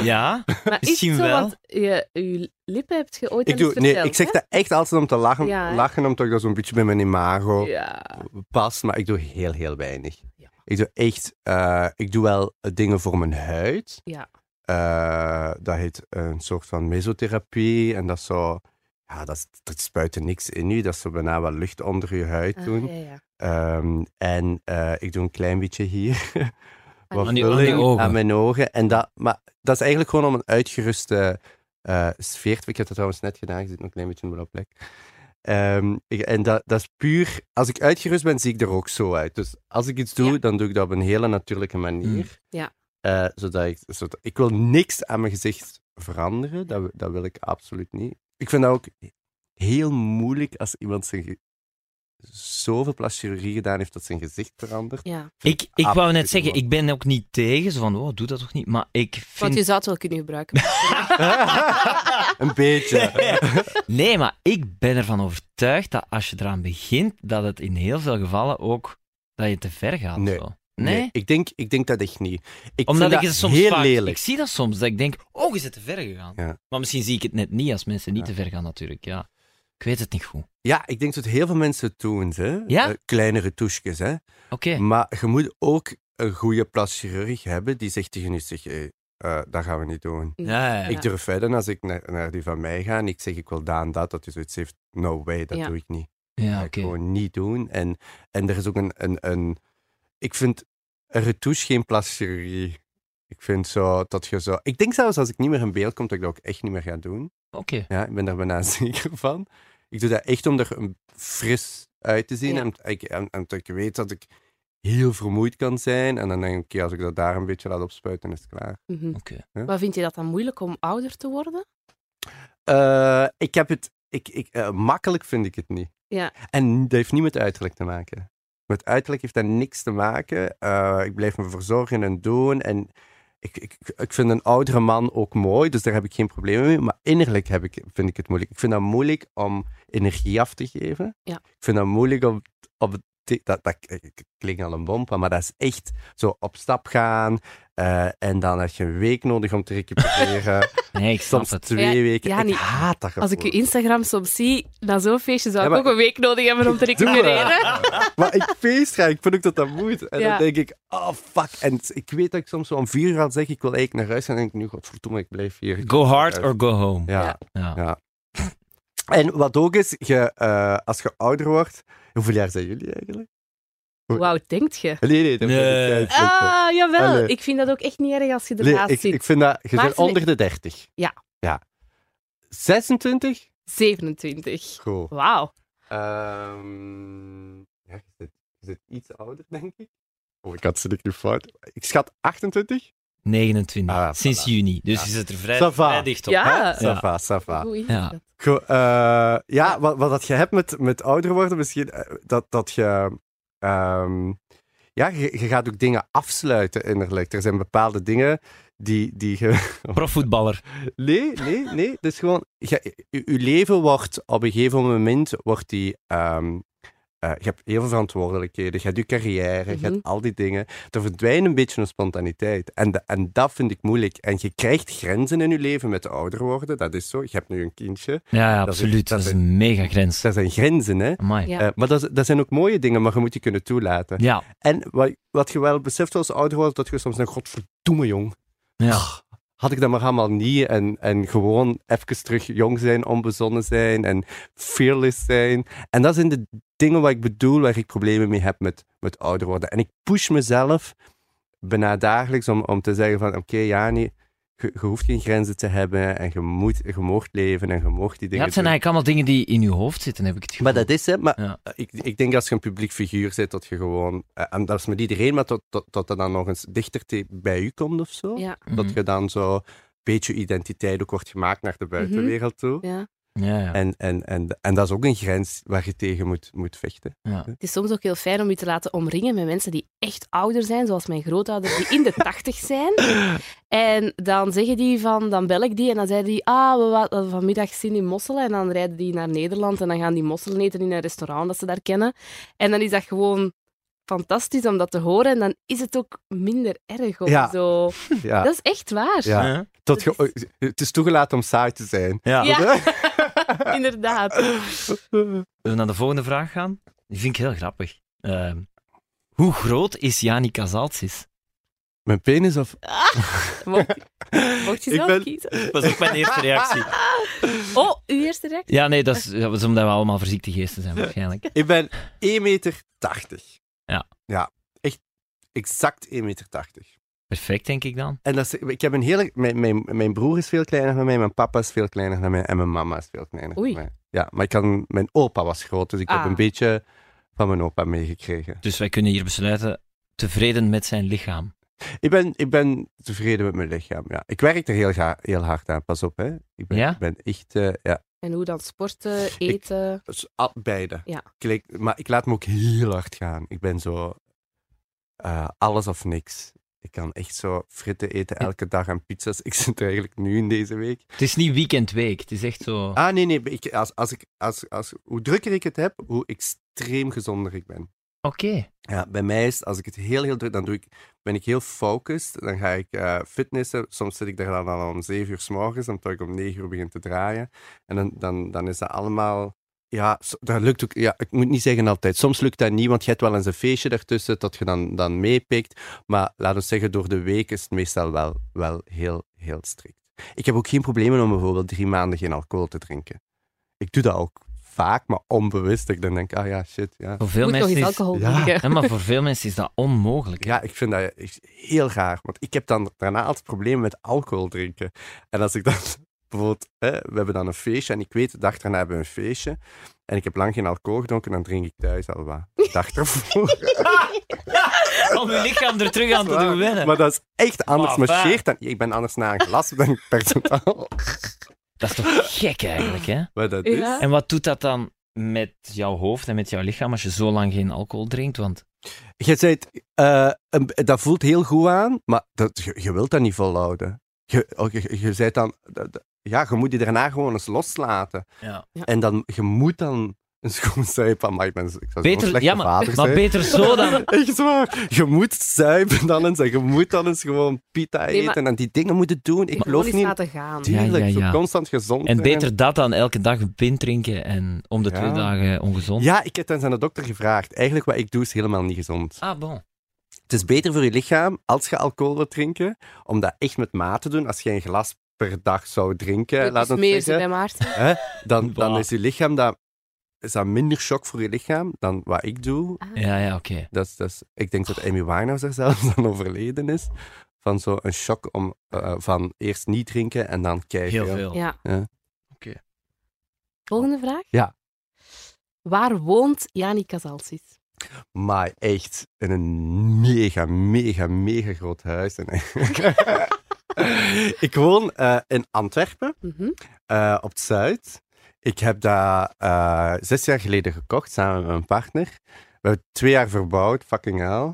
Speaker 4: ja?
Speaker 5: Maar is
Speaker 4: Misschien
Speaker 5: het zo
Speaker 4: wel.
Speaker 5: want je, je lippen hebt je ooit
Speaker 2: Ik,
Speaker 5: al
Speaker 2: doe,
Speaker 5: eens
Speaker 2: nee,
Speaker 5: verteld,
Speaker 2: ik zeg
Speaker 5: hè?
Speaker 2: dat echt altijd om te lachen,
Speaker 5: Ja, hè?
Speaker 2: lachen omdat ik dat zo'n beetje bij mijn imago
Speaker 5: Ja.
Speaker 2: past. Maar ik doe heel, heel weinig.
Speaker 5: Ja.
Speaker 2: Ik doe echt, eh, ik doe wel eh, dingen voor mijn huid.
Speaker 5: Ja.
Speaker 2: Eh, dat heet een soort van mesotherapie. En dat is zo Ja, dat, is- dat spuit er niks in u. Dat is zo bijna wat lucht onder uw huid
Speaker 5: Ah,
Speaker 2: doen.
Speaker 5: ja, ja.
Speaker 2: Ehm, en eh, ik doe een klein beetje hier. <laughs> Wat
Speaker 4: Aan die- aan
Speaker 2: vulling
Speaker 4: die ogen.
Speaker 2: aan mijn ogen. En dat, maar dat is eigenlijk gewoon om een uitgeruste eh, sfeer te... Ik heb dat trouwens net gedaan. Ik zit nog een klein beetje in een blauwe plek. Ehm, ik- en dat, dat is puur... Als ik uitgerust ben, zie ik er ook zo uit. Dus als ik iets doe,
Speaker 5: Ja. Mm.
Speaker 2: dan doe ik dat op een hele natuurlijke manier.
Speaker 5: Ja.
Speaker 2: Eh, zodat ik, zodat, ik wil niks aan mijn gezicht veranderen. Dat, wi- dat wil ik absoluut niet. Ik vind dat ook heel moeilijk als iemand zijn ge- zoveel plastische chirurgie gedaan heeft dat zijn gezicht verandert.
Speaker 5: ja.
Speaker 4: Ik, ik wou
Speaker 2: Absoluut
Speaker 4: net zeggen,
Speaker 2: mooi.
Speaker 4: ik ben ook niet tegen. Zo van, oh, doe dat toch niet. Maar ik
Speaker 5: Want je
Speaker 4: vind...
Speaker 5: zou het wel kunnen
Speaker 2: <laughs>
Speaker 5: gebruiken.
Speaker 2: een beetje.
Speaker 5: <laughs>
Speaker 4: Nee, maar ik ben ervan overtuigd dat als je eraan begint, dat het in heel veel gevallen ook... Dat je te ver gaat.
Speaker 2: Nee.
Speaker 4: Zo. Nee?
Speaker 2: ik, denk, ik denk dat echt niet. Ik
Speaker 4: Omdat ik
Speaker 2: vind
Speaker 4: het
Speaker 2: dat
Speaker 4: soms
Speaker 2: heel
Speaker 4: vaak- Ik
Speaker 2: lelijk.
Speaker 4: zie dat soms, dat ik denk, oh, is het te ver gegaan.
Speaker 2: Ja.
Speaker 4: Maar misschien zie ik het net niet als mensen niet
Speaker 2: Ja.
Speaker 4: te ver gaan natuurlijk, ja. Ik weet het niet goed.
Speaker 2: Ja, ik denk dat heel veel mensen het doen. Hè?
Speaker 4: Ja?
Speaker 2: Eh, kleinere touchjes. Hè?
Speaker 4: Oké.
Speaker 2: Maar je moet ook een goede plastische chirurg hebben die zegt tegen je, zeg, hey, eh, dat gaan we niet doen.
Speaker 4: Ja, ja, ja.
Speaker 2: Ik durf verder als ik naar, naar die van mij ga en ik zeg ik wil Daan dat, dat je zoiets heeft, no way, dat
Speaker 5: Ja.
Speaker 2: doe ik niet.
Speaker 4: Ja, Ah,
Speaker 2: Dat ga
Speaker 4: oké.
Speaker 2: ik gewoon niet doen. En, en er is ook een, een, een... Ik vind een retouche geen plastische chirurgie. Ik vind zo dat je zo... Ik denk zelfs als ik niet meer in beeld kom, dat ik dat ook echt niet meer ga doen.
Speaker 4: Oké.
Speaker 2: Ja, ik ben daar bijna <laughs> zeker van. Ik doe dat echt om er een- fris uit te zien.
Speaker 5: Ja.
Speaker 2: En, ik, en, en dat ik weet dat ik heel vermoeid kan zijn. En dan denk ik, oké, als ik dat daar een beetje laat opspuiten, is het klaar.
Speaker 5: Mhm.
Speaker 4: Oké.
Speaker 5: Maar vind je dat dan moeilijk om ouder te worden?
Speaker 2: Eh, ik heb het. Ik, ik, eh, makkelijk vind ik het niet.
Speaker 5: Ja.
Speaker 2: En dat heeft niet met uiterlijk te maken. Met uiterlijk heeft daar niks te maken. Eh, ik blijf me verzorgen en doen. En ik, ik, ik vind een oudere man ook mooi, dus daar heb ik geen probleem mee. Maar innerlijk heb ik, vind ik het moeilijk. Ik vind dat moeilijk om energie af te geven.
Speaker 5: Ja.
Speaker 2: Ik vind dat moeilijk om. om te- dat, dat klinkt al een bompa, maar dat is echt zo op stap gaan. eh, en dan heb je een week nodig om te
Speaker 5: <laughs>
Speaker 2: recupereren.
Speaker 4: Nee, ik snap
Speaker 2: Soms
Speaker 4: het.
Speaker 2: twee
Speaker 5: Ja,
Speaker 2: weken.
Speaker 5: ja,
Speaker 2: ik
Speaker 5: niet-
Speaker 2: haat dat
Speaker 5: Als ik je
Speaker 2: gevoel.
Speaker 5: Instagram soms zie, na zo'n feestje zou
Speaker 2: Ja,
Speaker 5: ik
Speaker 2: maar-
Speaker 5: ook een week nodig hebben om te
Speaker 2: Doe maar.
Speaker 5: recupereren.
Speaker 2: Maar ik feest ga, ik vind ook dat dat moet. En
Speaker 5: Ja.
Speaker 2: dan denk ik, oh fuck. En ik weet dat ik soms zo om vier uur al zeg, ik wil eigenlijk naar huis. En dan denk ik, nu godverdomme, ik blijf hier.
Speaker 4: Go hard or go home.
Speaker 2: Ja.
Speaker 5: Ja.
Speaker 4: Ja.
Speaker 2: ja. En wat ook is, je, eh, als je ouder wordt... Hoeveel jaar zijn jullie eigenlijk?
Speaker 5: Wauw, denkt je?
Speaker 2: Nee, nee. Dat moet ik
Speaker 4: Nee.
Speaker 2: niet uitzoeken.
Speaker 5: Ah, jawel.
Speaker 2: Allee.
Speaker 5: Ik vind dat ook echt niet erg als je
Speaker 2: Nee,
Speaker 5: ernaast
Speaker 2: ik,
Speaker 5: zit.
Speaker 2: ik vind dat... Je
Speaker 5: Maarten,
Speaker 2: bent onder de 30.
Speaker 5: Ja.
Speaker 2: Ja. 26?
Speaker 5: 27.
Speaker 2: Goed.
Speaker 5: Wauw.
Speaker 2: Ehm, ja, je zit, je zit iets ouder, denk ik. Oh, ik had ze niet fout. Ik schat 28.
Speaker 4: 29,
Speaker 2: Ah,
Speaker 4: sinds
Speaker 2: voilà.
Speaker 4: juni. Dus
Speaker 2: Ja.
Speaker 4: je zit er vrij,
Speaker 2: Ça va.
Speaker 4: vrij dicht op.
Speaker 5: Ja.
Speaker 2: Hè? Ça va, ça va.
Speaker 5: Hoe is
Speaker 4: Ja.
Speaker 5: dat?
Speaker 2: Go- eh, ja, wat, wat dat je hebt met, met ouder worden, misschien eh, dat, dat je. ehm, ja, je, je gaat ook dingen afsluiten innerlijk. Er zijn bepaalde dingen die, die je.
Speaker 4: Profvoetballer.
Speaker 2: Nee, nee, nee. Het is gewoon. Je, je, je leven wordt op een gegeven moment. Wordt die, ehm, eh, je hebt heel veel verantwoordelijkheden. Je hebt je carrière. Je
Speaker 5: Mhm.
Speaker 2: hebt al die dingen. Er verdwijnt een beetje een spontaniteit. En, da- en dat vind ik moeilijk. En je krijgt grenzen in je leven met ouder worden. Dat is zo. Je hebt nu een kindje.
Speaker 4: Ja, ja
Speaker 2: Dat is-
Speaker 4: absoluut.
Speaker 2: dat
Speaker 4: Dat is
Speaker 2: is-
Speaker 4: een mega grens.
Speaker 2: Dat zijn grenzen, hè?
Speaker 4: Amai.
Speaker 5: Ja.
Speaker 4: Ja.
Speaker 2: Eh, maar dat, dat zijn ook mooie dingen, maar je moet die kunnen toelaten.
Speaker 4: Ja.
Speaker 2: En wat, wat je wel beseft als ouder wordt, dat je soms denkt, godverdomme jong, had ik dat maar allemaal niet. En, en gewoon even terug jong zijn, onbezonnen zijn en fearless zijn. En dat zijn de dingen waar ik bedoel, waar ik problemen mee heb met, met ouder worden. En ik push mezelf bijna dagelijks om, om te zeggen van, oké, ja, nee, je, je hoeft geen grenzen te hebben en je moet, je mocht leven en je mocht die
Speaker 4: Ja,
Speaker 2: dingen
Speaker 4: het zijn
Speaker 2: doen.
Speaker 4: eigenlijk allemaal dingen die in je hoofd zitten, heb ik het gevoel.
Speaker 2: Maar dat is hè, maar
Speaker 4: Ja.
Speaker 2: ik, ik denk als je een publiek figuur bent, dat je gewoon, eh, en dat is met iedereen, maar dat, dat, dat dat dan nog eens dichter te- bij u komt of zo.
Speaker 5: Ja.
Speaker 4: Mhm.
Speaker 2: Dat je dan zo een beetje identiteit ook wordt gemaakt naar de buitenwereld toe.
Speaker 5: Mhm. Ja.
Speaker 4: Ja, ja.
Speaker 2: En, en, en, en dat is ook een grens waar je tegen moet, moet vechten.
Speaker 5: <laughs> Het is soms ook heel fijn om je te laten omringen met mensen die echt ouder zijn, zoals mijn grootouders, die
Speaker 2: <laughs>
Speaker 5: in de tachtig zijn. En dan zeggen die van, dan bel ik die en dan zeiden die, ah, we wa- hadden vanmiddag zin in mosselen. En dan rijden die naar Nederland en dan gaan die mosselen eten in een restaurant dat ze daar kennen. En dan is dat gewoon fantastisch om dat te horen. En dan is het ook minder erg of
Speaker 2: Ja.
Speaker 5: zo.
Speaker 2: Ja,
Speaker 5: Dat is echt waar.
Speaker 2: Ja. dat je,
Speaker 5: dat
Speaker 2: het is toegelaten om saai te zijn.
Speaker 4: Ja.
Speaker 5: Ja.
Speaker 2: <laughs>
Speaker 4: Zullen
Speaker 5: <laughs> Inderdaad.
Speaker 4: we naar de volgende vraag gaan? Die vind ik heel grappig. Ehm, hoe groot is Jani Kazaltsis?
Speaker 2: Mijn penis of...
Speaker 5: Maar Ah, Mocht je
Speaker 2: Ik
Speaker 5: zelf
Speaker 2: ben-
Speaker 5: kiezen.
Speaker 4: Dat was ook mijn eerste reactie.
Speaker 5: Oh, uw eerste reactie?
Speaker 4: <laughs> Ja, nee, dat is, dat is omdat we allemaal verziekte geesten zijn, waarschijnlijk.
Speaker 2: Ik ben 1,80 meter.
Speaker 4: Ja.
Speaker 2: Ja, echt exact 1,80 meter.
Speaker 4: Perfect, denk ik dan.
Speaker 2: En dat is, ik heb een hele, mijn, mijn, mijn broer is veel kleiner dan mij, mijn papa is veel kleiner dan mij en mijn mama is veel kleiner
Speaker 5: Oei.
Speaker 2: dan mij. Ja, maar ik kan, mijn opa was groot, dus ik
Speaker 5: Ah.
Speaker 2: heb een beetje van mijn opa meegekregen.
Speaker 4: Dus wij kunnen hier besluiten, tevreden met zijn lichaam.
Speaker 2: Ik ben, ik ben tevreden met mijn lichaam, ja. Ik werk er heel, ga- heel hard aan, pas op, hè. Ik ben,
Speaker 4: Ja?
Speaker 2: ik ben echt, eh, ja,
Speaker 5: En hoe dan sporten, eten?
Speaker 2: dus al- beide.
Speaker 5: Ja.
Speaker 2: Ik leek- maar ik laat me ook heel hard gaan. Ik ben zo eh, alles of niks. Ik kan echt zo fritten eten elke dag en pizza's. <laughs> Ik zit er eigenlijk nu in deze week.
Speaker 4: Het is niet weekendweek, het is echt zo...
Speaker 2: Ah, nee, nee. Ik, als, als ik, als, als, hoe drukker ik het heb, hoe extreem gezonder ik ben.
Speaker 4: Oké.
Speaker 2: Ja, bij mij is het, als ik het heel, heel druk, dan doe ik, ben ik heel focused. Dan ga ik eh, fitnessen. Soms zit ik daar dan al om zeven uur s morgens, omdat ik om negen uur begin te draaien. En dan, dan, dan is dat allemaal... Ja, so- dat lukt ook... Ja, ik moet niet zeggen altijd. Soms lukt dat niet, want je hebt wel eens een feestje daartussen dat je dan, dan meepikt. Maar laten we zeggen, door de week is het meestal wel, wel heel, heel strikt. Ik heb ook geen problemen om bijvoorbeeld drie maanden geen alcohol te drinken. Ik doe dat ook vaak, maar onbewust. Dat Ik dan denk, ah ja, shit, ja.
Speaker 4: Voor veel
Speaker 5: Moet nog
Speaker 4: mensen
Speaker 5: eens
Speaker 4: is...
Speaker 5: alcohol
Speaker 2: Ja.
Speaker 5: drinken.
Speaker 4: Ja, maar voor veel mensen is dat onmogelijk.
Speaker 2: Ja, ik vind dat echt heel raar. Want ik heb dan daarna altijd problemen met alcohol drinken. En als ik dan <laughs> bijvoorbeeld, hè, we hebben dan een feestje en ik weet, de dag daarna hebben we een feestje. En ik heb lang geen alcohol gedronken, dan drink ik thuis al wat. De dag ervoor.
Speaker 4: Om je lichaam er terug aan te doen wennen.
Speaker 2: maar dat is echt anders.
Speaker 4: Maar
Speaker 2: Maar
Speaker 4: fijn.
Speaker 2: scheert dan, ik ben anders na een glas dan ik percentaal.
Speaker 4: Dat is toch gek eigenlijk, hè?
Speaker 2: Maar dat is...
Speaker 5: Ja.
Speaker 4: En wat doet dat dan met jouw hoofd en met jouw lichaam als je zo lang geen alcohol drinkt? Want
Speaker 2: Je zei, eh, een- dat voelt heel goed aan, maar dat, je, je wilt dat niet volhouden. Je, ook- je, je zei dan, dat- dat- ja, je moet die daarna gewoon eens loslaten.
Speaker 4: Ja.
Speaker 5: Ja.
Speaker 2: En dan, je moet dan een schoen zuipen. Maar ik, ben, ik zou zo'n
Speaker 4: beter,
Speaker 2: slechte
Speaker 4: ja, maar,
Speaker 2: vader
Speaker 4: maar
Speaker 2: zijn.
Speaker 4: beter
Speaker 5: <laughs>
Speaker 4: zo dan.
Speaker 2: <laughs> Echt waar. Je moet zuipen dan eens en je moet dan eens gewoon pita
Speaker 5: Nee, maar-
Speaker 2: eten en die dingen moeten doen. Ik
Speaker 5: Gewoon
Speaker 2: geloof
Speaker 5: eens
Speaker 2: niet...
Speaker 5: laten gaan.
Speaker 4: Ja,
Speaker 2: Tuurlijk,
Speaker 4: ja,
Speaker 2: zo
Speaker 4: ja.
Speaker 2: constant gezond
Speaker 4: En
Speaker 2: zijn.
Speaker 4: beter dat dan elke dag een pint drinken en om de
Speaker 2: Ja.
Speaker 4: twee dagen ongezond.
Speaker 2: Ja, ik heb dan eens aan de dokter gevraagd. Eigenlijk wat ik doe is helemaal niet gezond.
Speaker 4: Ah, bon.
Speaker 2: Het is beter voor je lichaam als je alcohol wilt drinken, om dat echt met maat te doen. Als je een glas per dag zou drinken,
Speaker 5: Dus
Speaker 2: laat ons
Speaker 5: meer ze
Speaker 2: zeggen,
Speaker 5: bij Maarten.
Speaker 2: hè, dan,
Speaker 4: Bah.
Speaker 2: dan is je lichaam dat, is dat minder shock voor je lichaam dan wat ik doe.
Speaker 5: Ah.
Speaker 4: Ja, ja, oké.
Speaker 2: Dat is, dat is- ik denk dat Amy Winehouse er zelfs <laughs> aan overleden is. Van zo'n shock om, eh, van eerst niet drinken en dan kijken.
Speaker 4: Heel veel.
Speaker 5: Ja.
Speaker 2: Ja.
Speaker 4: Oké.
Speaker 5: Volgende vraag?
Speaker 2: Ja.
Speaker 5: Waar woont Jani Casalsis?
Speaker 2: Maar echt in een mega, mega, mega groot huis. En- <laughs> ik woon eh, in Antwerpen.
Speaker 5: Mhm.
Speaker 2: eh, op het Zuid. Ik heb dat eh, zes jaar geleden gekocht samen met mijn partner. We hebben twee jaar verbouwd, fucking hell.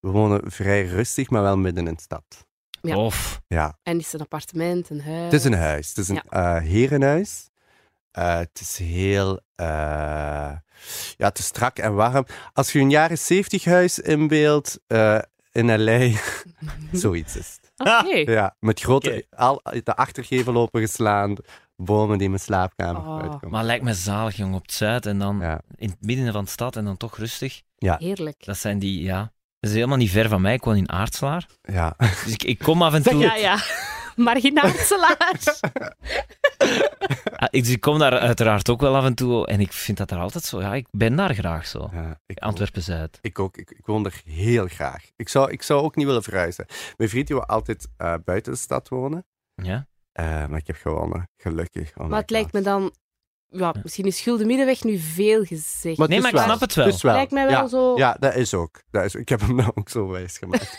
Speaker 2: We wonen vrij rustig, maar wel midden in de stad.
Speaker 5: Ja.
Speaker 4: Of
Speaker 2: Ja,
Speaker 5: En is het een appartement, een huis?
Speaker 2: het is een huis. Het is een eh, herenhuis. Eh, het is heel... eh, ja, het is strak en warm. Als je een jaren zeventig huis inbeeldt eh, in L.A., <laughs> zoiets is het.
Speaker 5: <laughs> Oké.
Speaker 2: Ja, met grote... Al, de achtergevel open geslaan, bomen die in mijn slaapkamer
Speaker 5: Oh.
Speaker 2: uitkomen.
Speaker 4: Maar lijkt me zalig, jong, op het zuid en dan
Speaker 2: Ja.
Speaker 4: in het midden van de stad en dan toch rustig.
Speaker 5: Heerlijk.
Speaker 4: Dat zijn die, ja. Dat is helemaal niet ver van mij. Ik woon in Aartslaar.
Speaker 2: Ja.
Speaker 4: Dus ik, ik kom af en toe.
Speaker 5: <laughs> Ja, ja. Marginaalselaars.
Speaker 4: Ah, ik, dus ik kom daar uiteraard ook wel af en toe. En ik vind dat daar altijd zo. Ja, ik ben daar graag zo.
Speaker 2: Ja, eh, ik,
Speaker 4: Antwerpen Zuid.
Speaker 2: Ik ook. Ik, ik woon er heel graag. Ik zou, ik zou ook niet willen verhuizen. Mijn vriend die wil altijd eh, buiten de stad wonen.
Speaker 4: Ja?
Speaker 2: Eh, maar ik heb gewonnen. Gelukkig. Oh my
Speaker 5: Maar het lijkt
Speaker 2: God.
Speaker 5: me dan... Ja, misschien is Gulden Middenweg nu veel gezegd.
Speaker 2: Maar het
Speaker 4: Nee,
Speaker 2: is
Speaker 4: maar ik snap het wel.
Speaker 2: is
Speaker 5: Lijkt mij wel
Speaker 2: ja.
Speaker 5: zo-
Speaker 2: Ja, dat is ook. Dat is, ik heb hem <laughs> nou ook zo wijs gemaakt.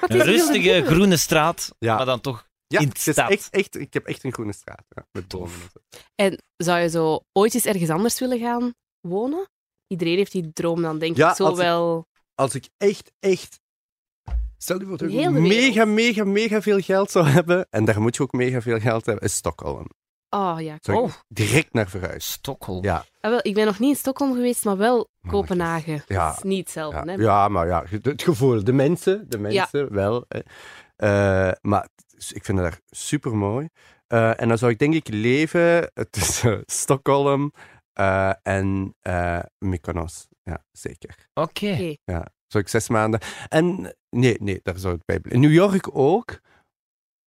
Speaker 5: Wat
Speaker 4: Een
Speaker 5: is Gulden
Speaker 4: rustige
Speaker 5: Middenweg?
Speaker 4: groene straat,
Speaker 2: Ja.
Speaker 4: maar dan toch.
Speaker 2: Ja,
Speaker 4: In
Speaker 2: het is
Speaker 4: stad.
Speaker 2: echt, echt, ik heb echt een groene straat. Ja, met
Speaker 4: Tof.
Speaker 2: bomen. en zo.
Speaker 5: En zou je zo ooit eens ergens anders willen gaan wonen? Iedereen heeft die droom dan, denk
Speaker 2: Ja,
Speaker 5: ik, zo
Speaker 2: als ik-
Speaker 5: wel...
Speaker 2: Als ik echt, echt... Stel je voor dat ik
Speaker 5: Heel de wereld.
Speaker 2: mega, mega, mega veel geld zou hebben. En daar moet je ook mega veel geld hebben. Is Stockholm.
Speaker 5: Oh ja,
Speaker 2: Zou ik
Speaker 5: oh.
Speaker 2: direct naar verhuis.
Speaker 4: Stockholm.
Speaker 2: Ja.
Speaker 5: Ah, wel, ik ben nog niet in Stockholm geweest, maar wel
Speaker 2: Maar
Speaker 5: Kopenhagen.
Speaker 2: ja,
Speaker 5: Dat is niet hetzelfde,
Speaker 2: Ja,
Speaker 5: hè?
Speaker 2: ja, maar ja, ge- het gevoel, de mensen, de mensen wel. hè. Eh, maar het is- ik vind het daar super mooi. Eh, en dan zou ik denk ik leven <laughs> tussen Stockholm eh, en eh Mykonos. Ja, zeker.
Speaker 4: Oké.
Speaker 5: Oké.
Speaker 2: Zou ik zes maanden. En nee, nee, daar zou ik bij blijven. In New York ook.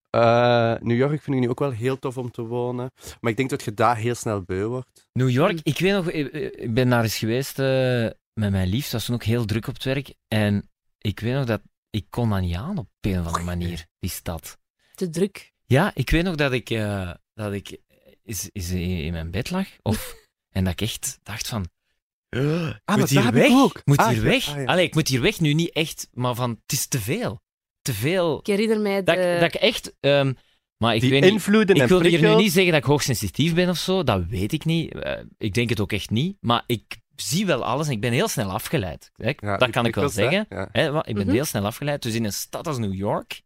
Speaker 2: Eh, New York vind ik nu ook wel heel tof om te wonen. Maar ik denk dat je daar heel snel beu wordt.
Speaker 4: New York, ik weet nog, ik, ik ben daar eens geweest eh, met mijn lief. Dat was toen ook heel druk op het werk. En ik weet nog dat ik kon dat niet aan op een of andere manier, die stad.
Speaker 5: Te druk.
Speaker 4: Ja, ik weet nog dat ik, eh, dat ik is, is in mijn bed lag.
Speaker 2: <laughs>
Speaker 4: Of, en dat ik echt dacht van... "Eh, ik
Speaker 2: Ah,
Speaker 4: moet
Speaker 2: dat
Speaker 4: hier
Speaker 2: heb ik
Speaker 4: weg.
Speaker 2: ook.
Speaker 4: Ik moet
Speaker 2: Ah,
Speaker 4: hier
Speaker 2: ja,
Speaker 4: weg.
Speaker 2: ah, ja.
Speaker 4: Allee, ik moet hier weg nu niet echt, maar van het is te veel. Te veel.
Speaker 5: Ik herinner mij...
Speaker 4: Dat,
Speaker 5: de-
Speaker 4: ik- dat ik echt... ehm, maar ik
Speaker 2: Die
Speaker 4: weet niet-
Speaker 2: invloeden en
Speaker 4: ik wil hier nu
Speaker 2: prikkels.
Speaker 4: niet zeggen dat ik hoogsensitief ben of zo, dat weet ik niet. Eh, ik denk het ook echt niet, maar ik zie wel alles en ik ben heel snel afgeleid. Hè?
Speaker 2: Ja,
Speaker 4: dat
Speaker 2: die
Speaker 4: kan ik wel
Speaker 2: prikkels, hè.
Speaker 4: zeggen.
Speaker 2: Ja.
Speaker 4: Hè? want Ik ben
Speaker 5: Mhm.
Speaker 4: heel snel afgeleid, dus in een stad als New York,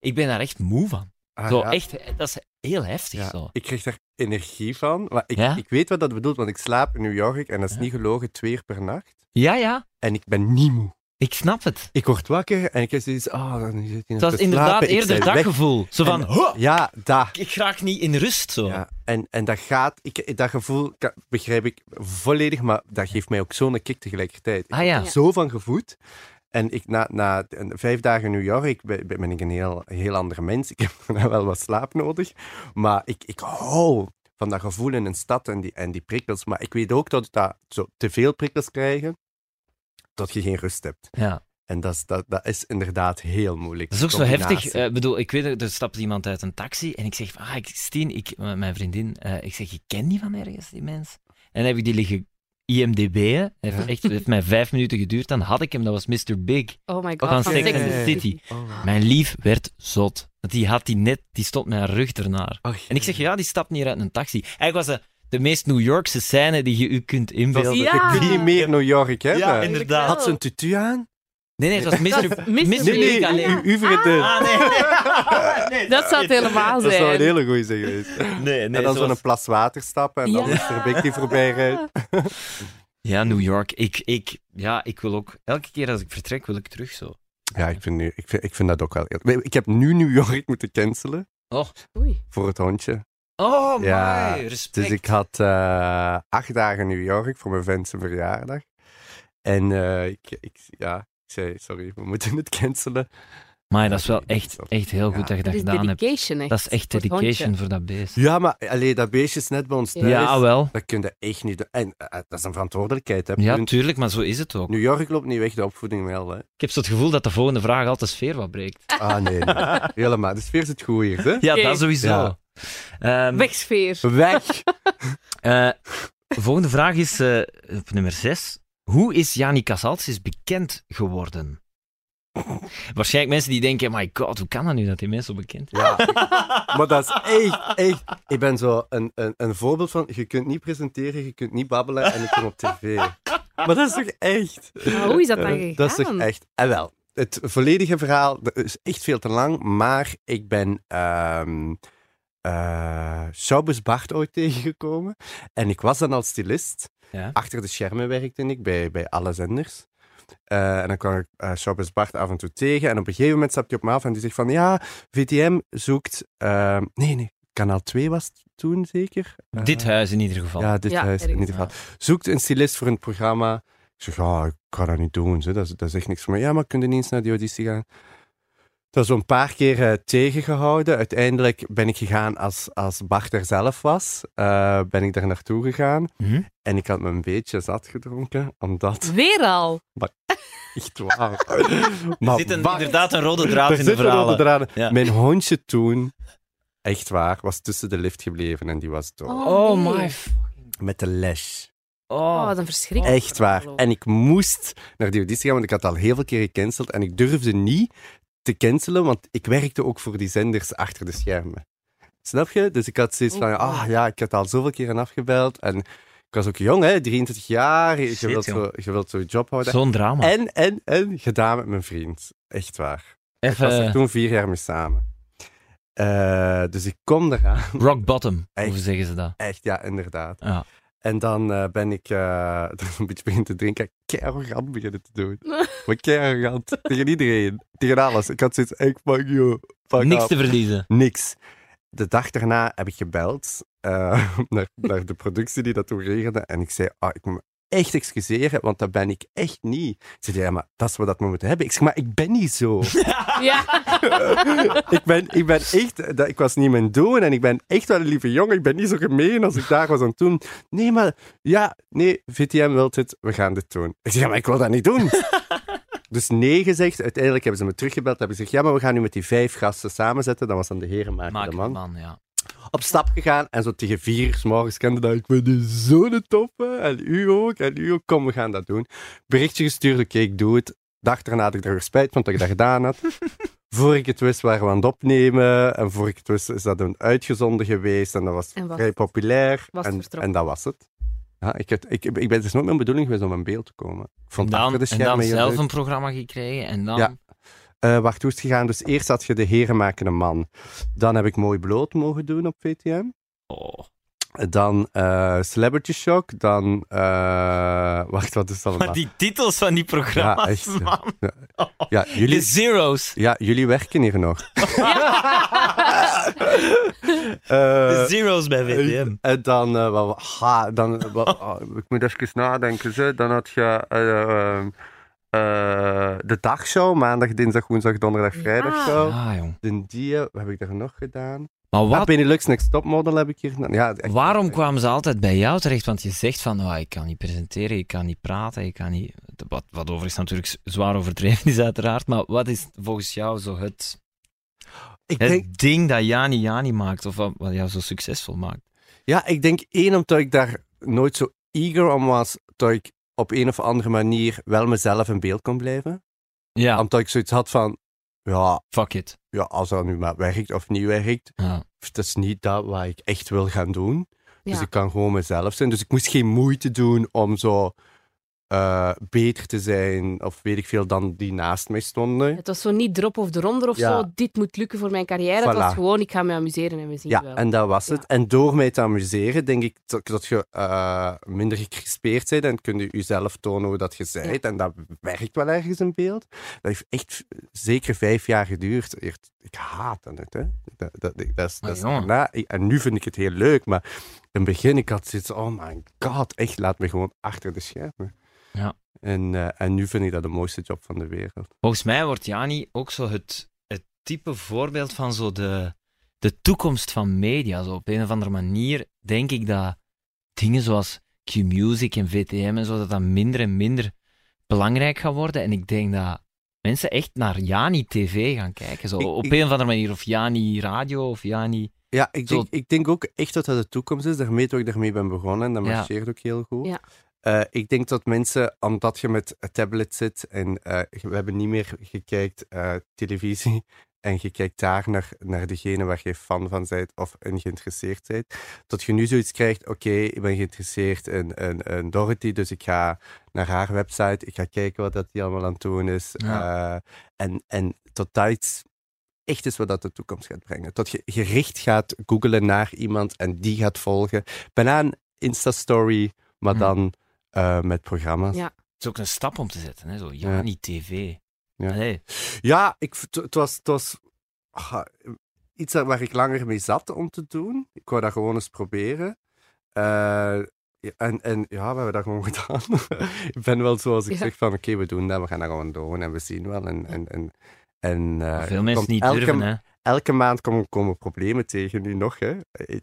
Speaker 4: ik ben daar echt moe van.
Speaker 2: Ah,
Speaker 4: zo,
Speaker 2: ja.
Speaker 4: echt, eh, dat is heel heftig
Speaker 2: Ja,
Speaker 4: zo.
Speaker 2: Ik kreeg daar energie van. Maar ik,
Speaker 4: Ja?
Speaker 2: ik weet wat dat bedoelt, want ik slaap in New York en dat is
Speaker 4: Ja.
Speaker 2: niet gelogen twee uur per nacht.
Speaker 4: Ja, ja,
Speaker 2: En ik ben niet moe.
Speaker 4: ik snap het.
Speaker 2: Ik word wakker en ik heb zoiets, ah, dan zit hij
Speaker 4: Het
Speaker 2: nog
Speaker 4: was
Speaker 2: te
Speaker 4: inderdaad
Speaker 2: slapen, ik
Speaker 4: eerder
Speaker 2: ben
Speaker 4: dat
Speaker 2: weg.
Speaker 4: gevoel. Zo van,
Speaker 2: En-
Speaker 4: "Huh,
Speaker 2: Ja, dat.
Speaker 4: ik raak niet in rust zo.
Speaker 2: Ja, en, en dat gaat, ik, dat gevoel ka- begrijp ik volledig, maar dat geeft mij ook zo'n kick tegelijkertijd. Ik
Speaker 4: Ah ja.
Speaker 2: ben zo van gevoed. En ik, na, na een- vijf dagen in New York ben, ben ik een heel, heel ander mens. Ik heb <laughs> daarna wel wat slaap nodig. Maar ik, ik hou van dat gevoel in een stad en die, en die prikkels. Maar ik weet ook dat ik dat zo te veel prikkels krijgen, dat je geen rust hebt.
Speaker 4: Ja.
Speaker 2: En dat is, dat, dat is inderdaad heel moeilijk.
Speaker 4: Dat is ook zo
Speaker 2: Combinatie.
Speaker 4: heftig. Eh, Ik bedoel, ik weet, dat er stapt iemand uit een taxi en ik zeg, van, ah, ik, Stien, ik, m- mijn vriendin, eh, ik zeg, je kent die van ergens, die mens? En dan heb ik die liggen IMDB'en. Het heeft, echt- heeft mij vijf minuten geduurd, dan had ik hem, dat was Mr. Big
Speaker 5: Oh my god.
Speaker 4: van
Speaker 2: Sex
Speaker 4: Sex
Speaker 2: and
Speaker 4: and the
Speaker 2: City.
Speaker 4: City.
Speaker 2: Oh.
Speaker 4: Mijn lief werd zot. Want die had die net, die stond met haar rug ernaar.
Speaker 2: Ach,
Speaker 4: En ik zeg, ja, die stapt niet uit een taxi. Eigenlijk was dat de meest New Yorkse scène die je u kunt inbeelden.
Speaker 5: Dat Ja.
Speaker 2: Ik wil
Speaker 4: Ah.
Speaker 2: meer New York hebben.
Speaker 4: Ja, inderdaad.
Speaker 2: Had ze een tutu aan?
Speaker 4: Nee, nee, het was Mr.
Speaker 5: Dat is Mr.
Speaker 4: Mr.
Speaker 5: Nee,
Speaker 4: Big
Speaker 5: nee,
Speaker 4: alleen.
Speaker 2: u vriendin.
Speaker 4: Ah, nee, nee.
Speaker 5: <laughs> Dat zou het helemaal
Speaker 2: dat
Speaker 5: zijn.
Speaker 2: zou een hele goeie zijn geweest.
Speaker 4: Nee, nee,
Speaker 2: en dan
Speaker 4: zo
Speaker 2: zo'n
Speaker 4: was-
Speaker 2: plas water stappen en dan
Speaker 5: Ja. Ah,
Speaker 2: is er een die voorbij rijdt.
Speaker 4: Ja, New York. Ik, ik, ja, ik wil ook... Elke keer als ik vertrek, wil ik terug zo.
Speaker 2: Ja, ik vind, nu, ik, vind, ik vind dat ook wel... heel- Ik heb nu New York moeten cancelen
Speaker 5: Oei.
Speaker 2: voor het hondje.
Speaker 4: Oh,
Speaker 2: Ja,
Speaker 4: my, respect.
Speaker 2: Dus ik had eh, acht dagen New York voor mijn vent zijn verjaardag. En eh, ik, ik, ja, ik zei, sorry, we moeten het cancelen.
Speaker 4: Maar dat is wel echt, echt heel goed
Speaker 2: Ja.
Speaker 4: dat je dat
Speaker 5: Dat is
Speaker 4: gedaan hebt.
Speaker 5: dedication, echt.
Speaker 4: Dat is echt
Speaker 5: Voor het hondje.
Speaker 4: dedication voor dat beest.
Speaker 2: Ja, maar allee, dat beestje is net bij ons
Speaker 5: Ja.
Speaker 2: thuis.
Speaker 4: Ja, ah, wel.
Speaker 2: Dat kun je echt niet doen. En eh, dat is een verantwoordelijkheid. Hè,
Speaker 4: Ja,
Speaker 2: punt.
Speaker 4: tuurlijk, maar zo is het ook.
Speaker 2: New York loopt niet weg, de opvoeding wel.
Speaker 4: <laughs>
Speaker 2: Hè.
Speaker 4: Ik heb zo het gevoel dat de volgende vraag altijd de sfeer wat breekt.
Speaker 2: Ah, nee, nee. Helemaal. Dus De sfeer zit goed hier, hè?
Speaker 4: Ja,
Speaker 5: Oké.
Speaker 4: dat sowieso.
Speaker 2: Ja.
Speaker 4: Ehm,
Speaker 5: Wegsfeer.
Speaker 2: Weg!
Speaker 4: eh, de volgende vraag is eh, op nummer 6. Hoe is Jani Casalsis bekend geworden? Waarschijnlijk mensen die denken, my god, hoe kan dat nu dat die mensen zo bekend is?
Speaker 2: <laughs> Ja. Maar dat is echt, echt... Ik ben zo een, een, een voorbeeld van... Je kunt niet presenteren, je kunt niet babbelen en ik kom op tv. Maar dat is toch echt...
Speaker 5: Maar Ah, hoe is dat dan
Speaker 2: Eh,
Speaker 5: gegaan?
Speaker 2: Dat is toch echt... En wel, het volledige verhaal dat is echt veel te lang, maar ik ben... ehm eh Saubus Bart ooit tegengekomen. En ik was dan al stylist.
Speaker 4: Ja.
Speaker 2: Achter de schermen werkte ik bij, bij alle zenders. Eh, en dan kwam ik eh Saubus Bart af en toe tegen. En op een gegeven moment stapt hij op me af en die zegt van... Ja, VTM zoekt... ehm, nee, nee. Kanaal 2 was het toen zeker. Eh,
Speaker 4: Dit huis in ieder geval.
Speaker 2: Ja, dit
Speaker 5: Ja,
Speaker 2: huis in
Speaker 5: ergens,
Speaker 2: ieder geval. Zoekt een stylist voor een programma. Ik zeg, ja, ik kan dat niet doen. Zo. Dat, is, dat is echt niks voor mij. Ja, maar kun je niet eens naar die auditie gaan? Dat is een paar keer eh, tegengehouden. Uiteindelijk ben ik gegaan als, als Bart er zelf was. Eh, ben ik daar naartoe gegaan.
Speaker 4: Mhm.
Speaker 2: En ik had me een beetje zat gedronken,
Speaker 5: <laughs>
Speaker 2: omdat... <laughs>
Speaker 5: Weer al.
Speaker 4: Oh.
Speaker 2: Echt waar. maar
Speaker 4: Er zit een-
Speaker 2: Bart-
Speaker 4: inderdaad een rode draad
Speaker 2: <laughs> Er
Speaker 4: in de
Speaker 2: zitten rode
Speaker 4: verhalen.
Speaker 2: draden.
Speaker 4: Ja.
Speaker 2: Mijn hondje toen, echt waar, was tussen de lift gebleven en die was dood.
Speaker 4: Oh
Speaker 5: nee.
Speaker 4: my... f-
Speaker 2: Met de les.
Speaker 5: Oh,
Speaker 4: Oh,
Speaker 5: wat een verschrik.
Speaker 2: Echt waar. En ik moest naar die auditie gaan, want ik had al heel veel keer gecanceld. En ik durfde niet te cancelen, want ik werkte ook voor die zenders achter de schermen. Snap je? Dus ik had zoiets van,
Speaker 5: Oh.
Speaker 2: ah ja, ik had al zoveel keren afgebeld. En ik was ook jong, hè, 23 jaar. Je
Speaker 4: Shit,
Speaker 2: wilt zo- je wilt zo'n job houden.
Speaker 4: zo'n drama.
Speaker 2: En, en, en, gedaan met mijn vriend. Echt waar. Ik
Speaker 4: Even
Speaker 2: was er
Speaker 4: eh,
Speaker 2: toen vier jaar mee samen. Eh, dus ik kom eraan.
Speaker 4: rock bottom,
Speaker 2: Echt.
Speaker 4: hoe zeggen ze dat?
Speaker 2: Echt, ja, inderdaad.
Speaker 4: Ja.
Speaker 2: En dan eh, ben ik eh, <laughs> een beetje beginnen te drinken. Kei arrogant beginnen te doen. Maar kei arrogant. Tegen iedereen. Tegen alles. Ik had zoiets. Ik fuck you. Fuck
Speaker 4: Niks
Speaker 2: off.
Speaker 4: te verliezen.
Speaker 2: Niks. De dag <laughs> daarna heb ik gebeld eh, naar, naar de productie die dat toen regelde. En ik zei, ah, ik moet me echt excuseren, want dat ben ik echt niet. Ik zeg, ja, maar dat is wat dat we moeten hebben. Ik zeg, maar ik ben niet zo.
Speaker 5: Ja. <laughs>
Speaker 2: ik, ben, ik ben echt, dat, ik was niet mijn doen en ik ben echt wel een lieve jongen. Ik ben niet zo gemeen als ik daar was aan het doen. Nee, maar ja, nee, VTM wil dit, we gaan dit doen. Ik zeg, ja, maar ik wil dat niet doen. <laughs> Dus nee gezegd. Uiteindelijk hebben ze me teruggebeld. Hebben ze gezegd, ja, maar we gaan nu met die vijf gasten samenzetten. Dat was dan de heren maken,
Speaker 4: Maak
Speaker 2: de
Speaker 4: man.
Speaker 2: man.
Speaker 4: man, ja.
Speaker 2: Op stap gegaan en zo tegen vier uur 's morgens kende dat. Ik ben die zo'n toppe. En u ook. En u ook. Kom, we gaan dat doen. Berichtje gestuurd. Oké, ik doe het. Dag daarna had ik er weer spijt van dat ik dat
Speaker 5: <laughs>
Speaker 2: gedaan had. voor ik het wist, waren we aan het opnemen. En voor ik het wist, is dat een uitgezonden geweest. En dat was
Speaker 5: En was
Speaker 2: vrij
Speaker 5: het-
Speaker 2: populair.
Speaker 5: was het
Speaker 2: en,
Speaker 5: vertrokken?
Speaker 2: en dat was het. Ja, ik, heb- ik, ik ben, het is nooit mijn bedoeling geweest om in beeld te komen. Ik
Speaker 4: En
Speaker 2: vond
Speaker 4: dan,
Speaker 2: achter de
Speaker 4: en
Speaker 2: schermen
Speaker 4: dan
Speaker 2: heel
Speaker 4: zelf
Speaker 2: leuk.
Speaker 4: een programma gekregen en dan...
Speaker 2: Ja. Eh, wacht, hoe is het gegaan? Dus eerst had je de heren maken een man. Dan heb ik mooi bloot mogen doen op VTM.
Speaker 4: Oh.
Speaker 2: Dan eh, Celebrity Shock. Dan. eh, wacht, wat is dat
Speaker 4: Maar
Speaker 2: allemaal?
Speaker 4: die titels van die programma's,
Speaker 2: Ja, echt, ja.
Speaker 4: man.
Speaker 2: Ja,
Speaker 4: De
Speaker 2: jullie,
Speaker 4: zeros.
Speaker 2: ja, jullie werken
Speaker 4: <laughs>
Speaker 2: hier nog. Eh,
Speaker 4: De zeros bij VTM.
Speaker 2: en dan. eh, wat- ha, dan
Speaker 4: <laughs>
Speaker 2: wat- ah, ik moet even nadenken. Ze. Dan had je. eh, eh, eh, de dagshow. Maandag, dinsdag, woensdag, donderdag, vrijdag. Zo.
Speaker 4: Ah, jong.
Speaker 2: Dan die. eh, Wat heb ik daar nog gedaan?
Speaker 4: Maar
Speaker 2: Wat? Ah,
Speaker 4: wat,
Speaker 2: Benelux Next Topmodel heb ik hier. Ja, echt-
Speaker 4: waarom kwamen ze altijd bij jou terecht? Want je zegt van, oh, ik kan niet presenteren, ik kan niet praten, ik kan niet... Wat, wat overigens natuurlijk z- zwaar overdreven is, uiteraard. Maar wat is volgens jou zo het,
Speaker 2: Ik
Speaker 4: het
Speaker 2: denk,
Speaker 4: ding dat Jani Jani maakt? Of wat, wat jou zo succesvol maakt?
Speaker 2: Ja, ik denk één, omdat ik daar nooit zo eager om was, dat ik op een of andere manier wel mezelf in beeld kon blijven.
Speaker 4: Ja,
Speaker 2: Omdat ik zoiets had van, ja,
Speaker 4: fuck it.
Speaker 2: ja, als dat nu maar werkt of niet werkt,
Speaker 4: Ja.
Speaker 2: dat is niet dat wat ik echt wil gaan doen. Dus
Speaker 5: Ja.
Speaker 2: ik kan gewoon mezelf zijn. Dus ik moest geen moeite doen om zo eh, beter te zijn, of weet ik veel, dan die naast mij stonden.
Speaker 5: Het was zo niet drop of eronder of
Speaker 2: Ja.
Speaker 5: zo. Dit moet lukken voor mijn carrière.
Speaker 2: Voilà.
Speaker 5: Het was gewoon, ik ga me amuseren en we zien
Speaker 2: Ja,
Speaker 5: wel.
Speaker 2: en dat was het.
Speaker 5: Ja.
Speaker 2: En door mij te amuseren, denk ik dat, dat je eh, minder gecrispeerd bent en kun je jezelf tonen hoe dat je bent. En dat werkt wel ergens in beeld. Dat heeft echt zeker vijf jaar geduurd. Echt, Ik haat dat het, hè. Dat, dat, dat is,
Speaker 4: Maar
Speaker 2: dat is-
Speaker 4: Ah, jongen.
Speaker 2: na- en nu vind ik het heel leuk, maar in het begin, ik had zoiets oh my god, echt, laat me gewoon achter de schermen.
Speaker 4: Ja.
Speaker 2: En, eh, en nu vind ik dat de mooiste job van de wereld.
Speaker 4: Volgens mij wordt Jani ook zo het, het type voorbeeld van zo de, de toekomst van media. Zo op een of andere manier denk ik dat dingen zoals Q-Music en VTM en zo, dat dat minder en minder belangrijk gaat worden. En ik denk dat mensen echt naar Jani TV gaan kijken. Zo,
Speaker 2: Ik-
Speaker 4: op
Speaker 2: ik-
Speaker 4: een of andere manier. Of Jani Radio of Jani...
Speaker 2: Ja, ik
Speaker 4: Zo-
Speaker 2: denk, ik denk ook echt dat dat de toekomst is. Daarmee dat ik daarmee ben begonnen. En dat
Speaker 4: Ja.
Speaker 2: marcheert ook heel goed.
Speaker 5: Ja.
Speaker 2: Eh, ik denk dat mensen, omdat je met een tablet zit en eh, we hebben niet meer gekeken eh, televisie <laughs> en je kijkt daar naar, naar degene waar je fan van bent of in geïnteresseerd bent, dat je nu zoiets krijgt, oké, ik ben geïnteresseerd in, in, in Dorothy, dus ik ga naar haar website, ik ga kijken wat dat die allemaal aan het doen is.
Speaker 4: Ja.
Speaker 2: Eh, en, en tot dat iets echt is wat dat de toekomst gaat brengen. Dat je gericht gaat googlen naar iemand en die gaat volgen. Bijna een Insta-story, maar
Speaker 4: Hmm.
Speaker 2: dan eh, met programma's.
Speaker 5: Ja.
Speaker 4: Het is ook een stap om te zetten, hè? Zo, Jani TV.
Speaker 2: Ja.
Speaker 4: Allee.
Speaker 2: Ja, ik, v- het- het was, het was ah, iets dat- waar ik langer mee zat om te doen. Ik wou dat gewoon eens proberen. Eh, ja, en, en ja, we hebben dat gewoon <laughs> gedaan. ik ben wel zoals ik
Speaker 5: Ja.
Speaker 2: zeg van, oké, we doen dat, we gaan dat gewoon doen en we zien wel. En, en, en, en, eh,
Speaker 4: Veel mensen
Speaker 2: komt
Speaker 4: niet
Speaker 2: elke,
Speaker 4: durven, hè?
Speaker 2: Elke maand komen, komen problemen tegen, nu nog. Hè. Eh,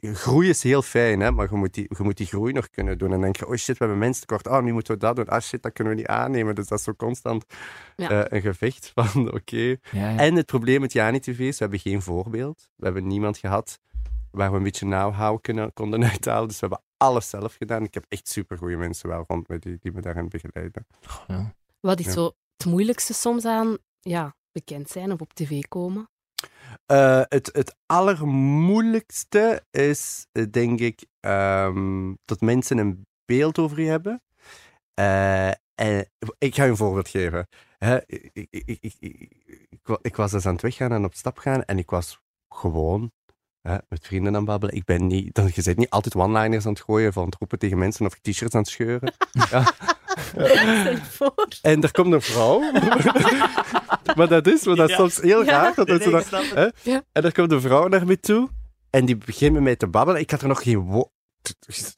Speaker 2: eh, Groei is heel fijn, hè, maar je moet, die, je moet die groei nog kunnen doen. En dan denk je, oh shit, we hebben mensen tekort. Oh, nu moeten we dat doen. Ah shit, dat kunnen we niet aannemen. Dus dat is zo constant
Speaker 5: Ja.
Speaker 2: eh, een gevecht <laughs> van, oké,
Speaker 4: Ja, ja.
Speaker 2: en het probleem met Jani TV is, we hebben geen voorbeeld. We hebben niemand gehad waar we een beetje nauwhouden kunnen, konden <laughs> uithalen. Dus we hebben alles zelf gedaan. Ik heb echt supergoeie mensen wel rond me die, die me daarin begeleiden.
Speaker 4: Goh, ja.
Speaker 5: Wat is
Speaker 2: Ja.
Speaker 5: zo het moeilijkste soms aan ja, bekend zijn of op tv komen?
Speaker 2: Eh, het, het allermoeilijkste is, eh, denk ik, ehm, dat mensen een beeld over je hebben. Eh, en, ik ga je een voorbeeld geven. Hè, ik, ik, ik, ik, ik- ik wa- ik was dus aan het weggaan en op stap gaan en ik was gewoon hè, met vrienden aan het babbelen. Ik ben niet, dan, je bent niet altijd one-liners aan het gooien van het roepen tegen mensen of t-shirts aan het scheuren.
Speaker 5: Stel je voor.
Speaker 2: En er komt een vrouw. <laughs> maar dat is, maar dat is
Speaker 4: Ja.
Speaker 2: soms heel
Speaker 5: Ja.
Speaker 2: raar. Dat
Speaker 4: Nee,
Speaker 2: mensen
Speaker 4: nee,
Speaker 2: dan-
Speaker 4: ik snap het.
Speaker 2: hè?
Speaker 5: Ja.
Speaker 2: En dan komt een vrouw naar me toe en die begint met mij te babbelen. Ik had er nog geen woord.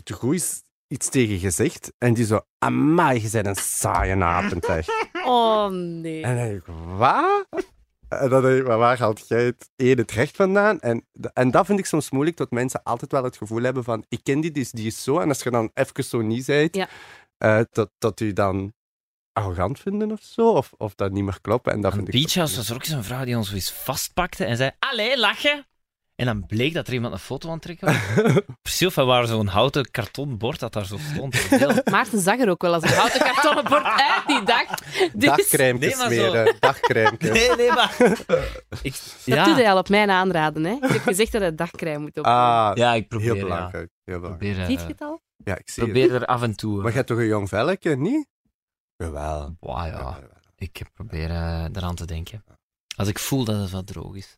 Speaker 2: De groei is iets tegen gezegd. En die zo, amai, je bent een saaie avond echt.
Speaker 5: Oh nee.
Speaker 2: En dan denk ik, wat? En dan denk ik, maar waar haalt jij het één het recht vandaan? En, en dat vind ik soms moeilijk, dat mensen altijd wel het gevoel hebben van, ik ken die, dus die is zo. En als je dan even zo niet zijt,
Speaker 5: Ja.
Speaker 2: eh, dat, dat u dan arrogant vinden of zo, of, of dat niet meer kloppen. En dat
Speaker 4: Aan
Speaker 2: vind ik
Speaker 4: Beach House was er ook zo'n vrouw die ons eens vastpakte en zei: Allee, lachen! En dan bleek dat er iemand een foto aan het trekken was.
Speaker 2: <laughs>
Speaker 4: Precies, van waar zo'n houten karton bord dat daar zo stond.
Speaker 2: <laughs>
Speaker 4: Heel-
Speaker 5: Maarten zag er ook wel als een houten kartonnen bord uit die dag. Dus dat
Speaker 2: Dagcrème
Speaker 4: Nee, maar zo.
Speaker 2: smeren, dagcrème.
Speaker 4: <laughs> Nee, nee,
Speaker 2: <laughs>
Speaker 4: maar. Ik,
Speaker 5: doe
Speaker 4: ja.
Speaker 5: hij al op mijn aanraden. Hè. Ik heb gezegd dat hij dagcrème moet op.
Speaker 2: Ah,
Speaker 4: ja, ik probeer.
Speaker 2: heel
Speaker 4: ja.
Speaker 2: belangrijk. Heel belangrijk.
Speaker 4: Probeer, eh,
Speaker 5: Ziet je het al?
Speaker 2: Ja, ik zie het.
Speaker 4: probeer er af en toe.
Speaker 2: Maar jij hebt toch een jong velletje, niet? Jawel.
Speaker 4: Wauw, ja. Ik probeer eh, eraan te denken. Als ik voel dat het wat droog is.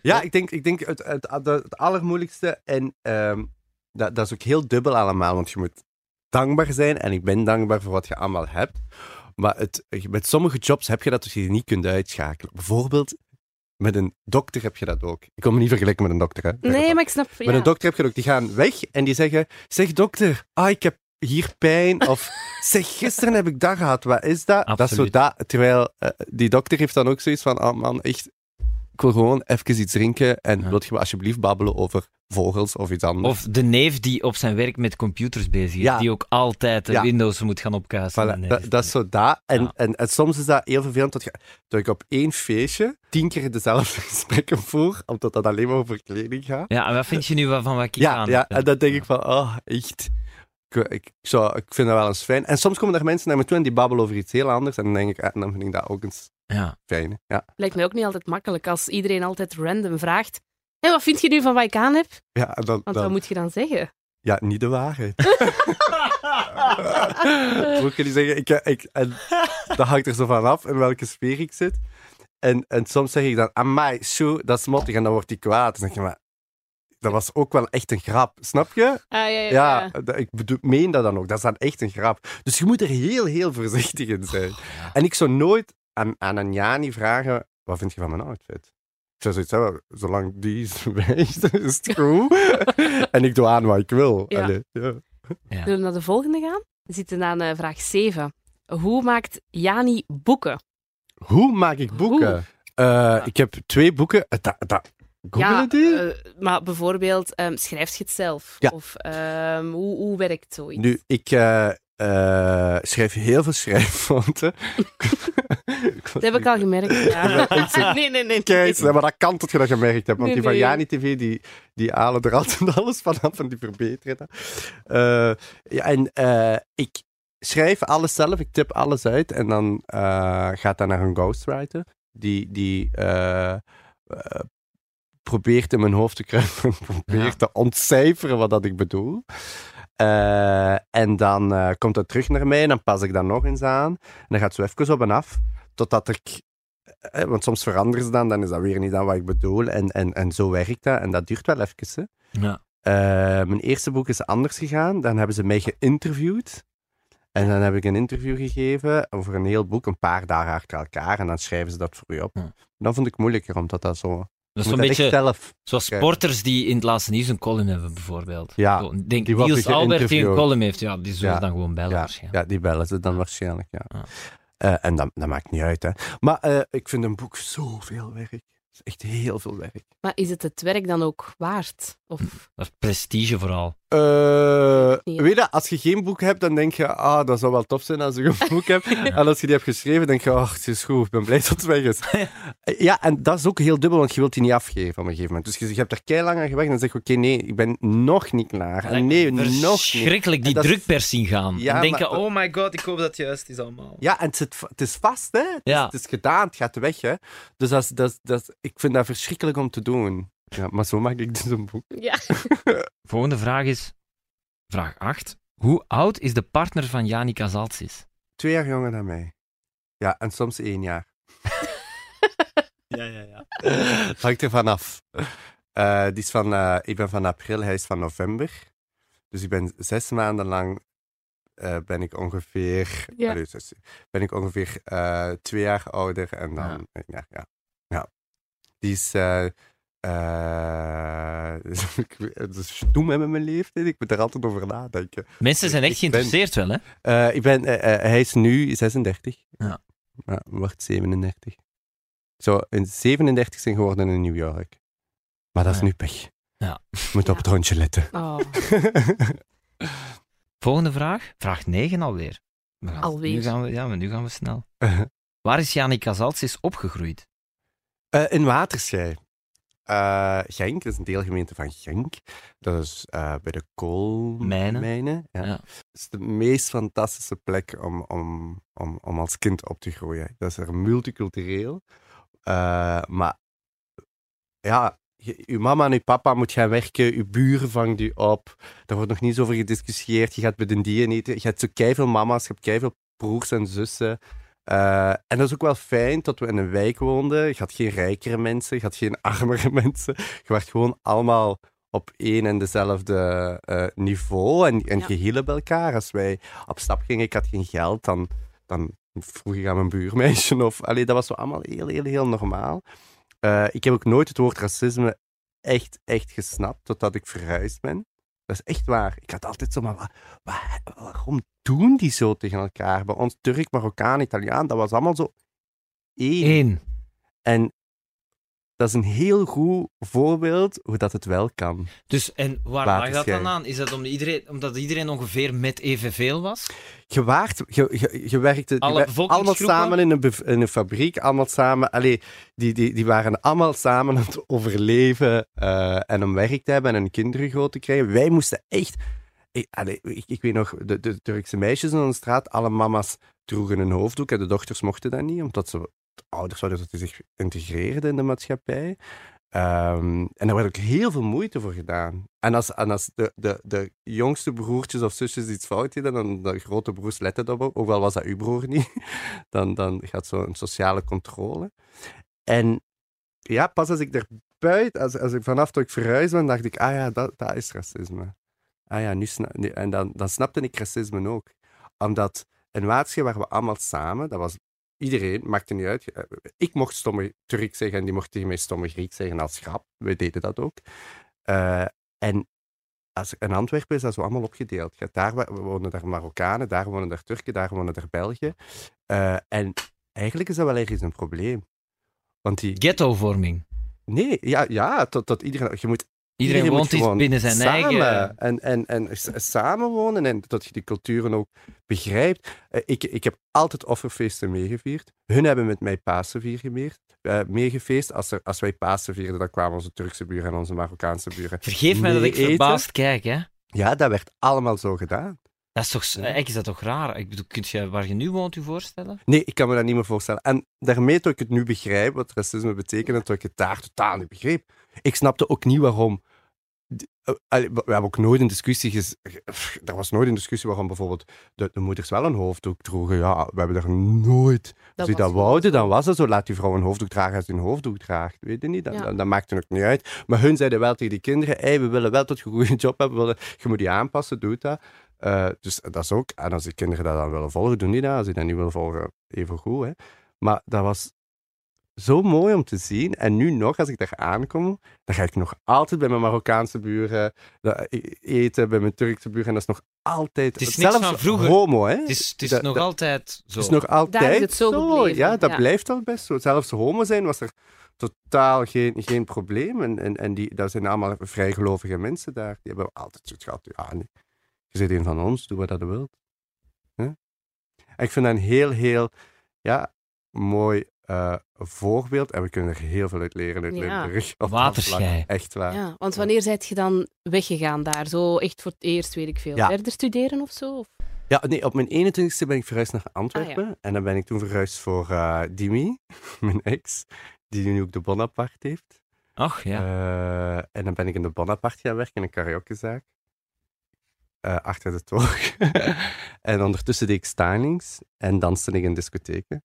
Speaker 2: Ja, ik denk, ik denk het, het, het, het allermoeilijkste. En ehm, dat, dat is ook heel dubbel allemaal, want je moet dankbaar zijn. En ik ben dankbaar voor wat je allemaal hebt. Maar het, met sommige jobs heb je dat dus je niet kunt uitschakelen. Bijvoorbeeld, met een dokter heb je dat ook. Ik kon me niet vergelijken met een dokter. Hè?
Speaker 5: Nee, maar ik snap...
Speaker 2: Met
Speaker 5: ja.
Speaker 2: een dokter heb je dat ook. Die gaan weg en die zeggen: Zeg dokter, ah, ik heb hier
Speaker 4: <laughs>
Speaker 2: pijn. Of zeg, gisteren heb ik dat gehad. Wat is dat? Dat is zo
Speaker 4: Absoluut.
Speaker 2: dat. Terwijl eh, die dokter heeft dan ook zoiets van: Ah, man, echt. Ik wil gewoon even iets drinken en
Speaker 4: Ja.
Speaker 2: wilt je me alsjeblieft babbelen over vogels of iets anders?
Speaker 4: Of de neef die op zijn werk met computers bezig is,
Speaker 2: Ja.
Speaker 4: die ook altijd de
Speaker 2: Ja.
Speaker 4: Windows moet gaan opkuisen.
Speaker 2: Voilà,
Speaker 4: Nee,
Speaker 2: dat, dat is zo dat. En,
Speaker 4: Ja.
Speaker 2: en, en soms is dat heel vervelend dat, je, dat ik op één feestje tien keer dezelfde <laughs> gesprekken voer, omdat dat alleen maar over kleding gaat.
Speaker 4: Ja, en wat vind je nu wa- van wat ik
Speaker 2: Ja,
Speaker 4: aan
Speaker 2: ja,
Speaker 4: heb?
Speaker 2: en dan denk ik van, oh, echt. Ik, ik, zou, ik vind dat wel eens fijn. En soms komen er mensen naar me toe en die babbelen over iets heel anders. En dan denk ik, ah, dan vind ik dat ook eens <laughs>
Speaker 4: Ja.
Speaker 2: fijn. hè. Ja,
Speaker 5: Lijkt mij ook niet altijd makkelijk als iedereen altijd random vraagt. Hé, wat vind je nu van wat ik aan heb?
Speaker 2: ja en dan,
Speaker 5: Want
Speaker 2: dan-
Speaker 5: wat moet je dan zeggen?
Speaker 2: Ja, niet de waarheid.
Speaker 5: <laughs>
Speaker 2: Moet je die zeggen, ik, eh, ik, en dat hangt er zo van af in welke sfeer ik zit. En, en soms zeg ik dan, amai, shoe, dat is mottig. En dan wordt hij kwaad. Dan denk je, maar dat was ook wel echt een grap. Snap je?
Speaker 5: Ah, ja, ja,
Speaker 2: Ja,
Speaker 5: ja.
Speaker 2: dat- ik bedoel, meen dat dan ook. Dat is dan echt een grap. Dus je moet er heel, heel voorzichtig in zijn. En ik zou nooit aan, aan een Jani vragen: wat vind je van mijn outfit? Ik zou zoiets hebben, zolang die is <laughs> geweest, is het
Speaker 5: <laughs>
Speaker 2: goed. en ik doe aan wat ik wil.
Speaker 5: Ja.
Speaker 2: Allee, ja.
Speaker 5: Zullen we naar de volgende gaan? We zitten aan eh, vraag 7. Hoe maakt Jani boeken?
Speaker 2: Hoe maak ik boeken? Eh, Ik heb twee boeken. Eh, da- da- Googelen
Speaker 5: ja,
Speaker 2: die?
Speaker 5: eh, maar bijvoorbeeld, ehm schrijf je het zelf?
Speaker 2: Ja.
Speaker 5: Of ehm, hoe, hoe werkt zoiets?
Speaker 2: Nu, ik eh, eh, schrijf heel veel schrijffouten.
Speaker 5: <laughs> Dat heb ik al gemerkt.
Speaker 2: <laughs>
Speaker 5: Ja. nee, nee, nee.
Speaker 2: Kees, nee, maar dat kan tot je dat gemerkt hebt. Want
Speaker 5: Nee,
Speaker 2: die van
Speaker 5: nee.
Speaker 2: Jani TV, die, die halen er altijd <laughs> alles vanaf en die verbeteren dat. Eh, ja, en eh, ik schrijf alles zelf, ik tip alles uit en dan eh, gaat dat naar een ghostwriter. Die, die eh, eh, probeert in mijn hoofd te kruipen, <laughs> probeert
Speaker 4: Ja.
Speaker 2: te ontcijferen wat dat ik bedoel. Eh, en dan eh, komt dat terug naar mij en dan pas ik dat nog eens aan. En dan gaat het zo even op en af, totdat ik Hè, want soms veranderen ze dan, dan is dat weer niet aan wat ik bedoel. En, en, en zo werkt dat. En dat duurt wel even. hè.
Speaker 4: Ja.
Speaker 2: Eh, mijn eerste boek is anders gegaan. Dan hebben ze mij geïnterviewd. En dan heb ik een interview gegeven over een heel boek, een paar dagen achter elkaar. En dan schrijven ze dat voor je op.
Speaker 4: Ja.
Speaker 2: Dan vond ik moeilijker, omdat dat zo...
Speaker 4: Hm. Dat is
Speaker 2: moet
Speaker 4: zo'n
Speaker 2: dat
Speaker 4: beetje
Speaker 2: echt zelf.
Speaker 4: zoals
Speaker 2: Kijk.
Speaker 4: sporters die in het laatste nieuws een column hebben, bijvoorbeeld.
Speaker 2: Ja,
Speaker 4: Zo, denk
Speaker 2: die worden
Speaker 4: Niels Albert die een
Speaker 2: geïnterviewd.
Speaker 4: column heeft, ja, die zullen
Speaker 2: Ja.
Speaker 4: dan gewoon bellen
Speaker 2: Ja,
Speaker 4: waarschijnlijk.
Speaker 2: ja, die bellen ze dan waarschijnlijk, ja.
Speaker 4: Ja.
Speaker 2: Eh, en dat, dat maakt niet uit, hè. Maar eh, ik vind een boek zoveel werk. Het is echt heel veel werk.
Speaker 5: Maar is het het werk dan ook waard? Of
Speaker 4: Dat is prestige vooral.
Speaker 2: Eh,
Speaker 5: Ja.
Speaker 2: Weet je, als je geen boek hebt, dan denk je, ah, dat zou wel tof zijn als ik een boek
Speaker 4: <laughs>
Speaker 2: heb. En als je die hebt geschreven, denk je, ach, het is goed, ik ben blij dat het weg
Speaker 4: <laughs>
Speaker 2: is. Eh, ja, en dat is ook heel dubbel, want je wilt die niet afgeven op een gegeven moment. Dus je, je hebt er keilang aan gewerkt en dan zeg je, oké, nee, ik ben nog niet klaar. En nee, nog niet.
Speaker 4: Verschrikkelijk die
Speaker 2: En dat is-
Speaker 4: drukpers zien gaan.
Speaker 2: Ja,
Speaker 4: en denken,
Speaker 2: maar-
Speaker 4: oh my god, ik hoop dat het juist is allemaal.
Speaker 2: Ja, en het, zit, va- het is vast, hè. Het, is-
Speaker 4: Ja.
Speaker 2: het is gedaan, het gaat weg, hè. Dus dat, is- dat, is- dat, is- ik vind dat verschrikkelijk om te doen. Ja, maar zo maak ik dus een boek.
Speaker 5: ja.
Speaker 4: Volgende vraag is, vraag 8. Hoe oud is de partner van Jani Casalsis?
Speaker 2: Twee jaar jonger dan mij. Ja, en soms één jaar.
Speaker 4: <laughs> Ja, ja, ja.
Speaker 2: <laughs> Hangt er vanaf. Eh, die is van, eh, ik ben van april, hij is van november. Dus ik ben zes maanden lang eh, ben ik ongeveer,
Speaker 5: Ja.
Speaker 2: allee, zes- ben ik ongeveer eh, twee jaar ouder en dan
Speaker 4: Ja.
Speaker 2: ja, ja, ja. Die is eh, <laughs> eh, Dus ik weet- het is stoem hè, met mijn leeftijd. Ik moet er altijd over nadenken.
Speaker 4: Mensen zijn echt
Speaker 2: Ik ben-
Speaker 4: geïnteresseerd wel, hè?
Speaker 2: Eh, ik ben, eh, eh, hij is nu 36.
Speaker 4: Ja.
Speaker 2: Ja, wordt 37. Zo, in 37 zijn geworden in New York. Maar dat is
Speaker 4: Ja.
Speaker 2: nu pech.
Speaker 4: Ja.
Speaker 2: Moet op het hondje
Speaker 4: <laughs>
Speaker 2: letten. <laughs>
Speaker 5: Oh,
Speaker 4: Volgende vraag. Vraag 9 alweer. We gaan-
Speaker 5: Alweer?
Speaker 4: Nu gaan we, ja, maar nu gaan we snel. Waar is Janik Kazaltsis opgegroeid?
Speaker 2: Eh, in Waterschei. Eh, Genk, dat is een deelgemeente van Genk. Dat is eh, bij de koolmijnen. ja.
Speaker 4: Ja.
Speaker 2: Het is de meest fantastische plek om, om, om, om als kind op te groeien. Dat is er multicultureel. Eh, maar ja, je, je mama en je papa moet gaan werken, je buren vangt je op. Daar wordt nog niet zo over gediscussieerd. Je gaat met een dier eten. Je hebt zo keiveel mama's, je hebt keiveel broers en zussen. Eh, en dat is ook wel fijn dat we in een wijk woonden. Je had geen rijkere mensen, je had geen armere <laughs> mensen. Je werd gewoon allemaal op één en dezelfde eh, niveau en, en
Speaker 5: Ja.
Speaker 2: je hielp elkaar. Als wij op stap gingen, ik had geen geld, dan, dan vroeg ik aan mijn buurmeisje. Of, allee, dat was zo allemaal heel, heel, heel normaal. Eh, ik heb ook nooit het woord racisme echt, echt gesnapt totdat ik verhuisd ben. Dat is echt waar. Ik had altijd zo, maar wa- wa- waarom doen die zo tegen elkaar? Bij ons Turk, Marokkaan, Italiaan, dat was allemaal zo één.
Speaker 4: Eén.
Speaker 2: En dat is een heel goed voorbeeld hoe dat het wel kan.
Speaker 4: Dus en waar
Speaker 2: Laat
Speaker 4: lag
Speaker 2: het
Speaker 4: dat dan
Speaker 2: schijnen.
Speaker 4: aan? Is dat om iedereen, omdat iedereen ongeveer met evenveel was?
Speaker 2: Je, waart, je, je, je werkte je
Speaker 4: Alle
Speaker 2: wer- allemaal
Speaker 4: bevolkingsgroepen?
Speaker 2: samen in een, bev- in een fabriek, allemaal samen. Allee, die, die, die waren allemaal samen aan het overleven eh, en om werk te hebben en hun kinderen groot te krijgen. Wij moesten echt. Ik, allee, ik, ik weet nog, de, de Turkse meisjes in onze straat, alle mama's droegen een hoofddoek en de dochters mochten dat niet, omdat ze de ouders zouden dat die zich integreerden in de maatschappij. Ehm, en daar werd ook heel veel moeite voor gedaan. En als, en als de, de, de jongste broertjes of zusjes iets fout deden, dan de grote broers letten daarop, ook al was dat uw broer niet, <laughs> dan, dan gaat zo'n sociale controle. En ja, pas als ik er buiten, als, als ik vanaf dat ik verhuisd ben, dacht ik, ah ja, dat, dat is racisme. Ah ja, nu sna- nu- en dan, dan snapte ik racisme ook. Omdat in Waterschap waren we allemaal samen, dat was iedereen, maakte niet uit. Eh, Ik mocht stomme Turk zeggen en die mocht tegen mij stomme Griek zeggen als grap. We deden dat ook. Eh, en als, in Antwerpen is dat zo allemaal opgedeeld. Je hebt daar wa- wonen daar Marokkanen, daar wonen daar Turken, daar wonen daar Belgen. Eh, en eigenlijk is dat wel ergens een probleem. Want die,
Speaker 4: Ghettovorming.
Speaker 2: Nee, ja, ja tot, tot iedereen. Je moet
Speaker 4: Iedereen,
Speaker 2: moet
Speaker 4: woont iets
Speaker 2: gewoon
Speaker 4: binnen zijn
Speaker 2: samen
Speaker 4: eigen.
Speaker 2: En, en, en s- samenwonen en dat je die culturen ook begrijpt. Eh, ik, ik heb altijd offerfeesten meegevierd. Hun hebben met mij Pasen vier gemeerd- eh, meegefeest. Als, er, als wij Pasen vierden, dan kwamen onze Turkse buren en onze Marokkaanse buren.
Speaker 4: Vergeef mij dat
Speaker 2: mee
Speaker 4: ik
Speaker 2: eten.
Speaker 4: verbaasd kijk, hè?
Speaker 2: Ja, dat werd allemaal zo gedaan.
Speaker 4: Dat is toch, eigenlijk is dat toch raar? Ik bedoel, kunt je waar je nu woont je voorstellen?
Speaker 2: Nee, ik kan me dat niet meer voorstellen. En daarmee dat ik het nu begrijp, wat racisme betekent, en dat ik het daar totaal niet begreep. Ik snapte ook niet waarom. d- eh, allee, We hebben ook nooit een discussie. ges- pff, Er was nooit een discussie waarom bijvoorbeeld de, de moeders wel een hoofddoek droegen. Ja, we hebben daar nooit. Als u
Speaker 5: was
Speaker 2: dat
Speaker 5: gewoon
Speaker 2: wouden,
Speaker 5: zo.
Speaker 2: dan was het zo. Laat die vrouw een hoofddoek dragen als ze een hoofddoek draagt. Weet je niet? Dat,
Speaker 5: Ja.
Speaker 2: dat, dat maakt hun ook niet uit. Maar hun zeiden wel tegen die kinderen: hey, we willen wel dat je een goede job hebt. we willen- je moet die aanpassen, doe dat. Eh, dus dat is ook. En als die kinderen dat dan willen volgen, doen die dat. Als die dat niet willen volgen, even goed. Hè? Maar dat was zo mooi om te zien. En nu nog, als ik daar aankom, dan ga ik nog altijd bij mijn Marokkaanse buren eh, eten, bij mijn Turkse buren. En dat is nog altijd.
Speaker 4: Het is niks
Speaker 2: zelfs
Speaker 4: van vroeger.
Speaker 2: homo, hè?
Speaker 4: Het is, het is
Speaker 2: Dat-
Speaker 4: nog
Speaker 2: dat-
Speaker 4: altijd zo.
Speaker 2: het is Dus nog altijd
Speaker 5: Daar is het zo gebleven,
Speaker 2: Ja, dat
Speaker 5: ja.
Speaker 2: blijft al best zo. Zelfs homo zijn was er totaal geen, geen probleem. En, en, en die, dat zijn allemaal vrijgelovige mensen daar. Die hebben altijd zoiets gehad. Ja, nee. Je zit een van ons, doe wat dat je wilt. Hè? En ik vind dat een heel, heel ja, mooi eh, voorbeeld. En we kunnen er heel veel uit leren. Uit
Speaker 5: Ja.
Speaker 2: Limburg. op dat
Speaker 4: Waterschei.
Speaker 2: vlak. Echt waar.
Speaker 5: ja. Want wanneer zijt je dan weggegaan daar? Zo echt voor het eerst, weet ik veel.
Speaker 2: Ja.
Speaker 5: Verder studeren of zo? Of-
Speaker 2: Ja, nee, op mijn 21ste ben ik verhuisd naar
Speaker 5: Ah,
Speaker 2: Antwerpen. En dan ben ik toen verhuisd voor eh Dimi, <laughs> mijn ex, die nu ook de Bonaparte heeft.
Speaker 4: Ach ja.
Speaker 2: Eh, en dan ben ik in de Bonaparte gaan werken, in een karaokezaak. Eh, achter de toog. <laughs> en ondertussen deed ik stylings en danste ik in discotheken.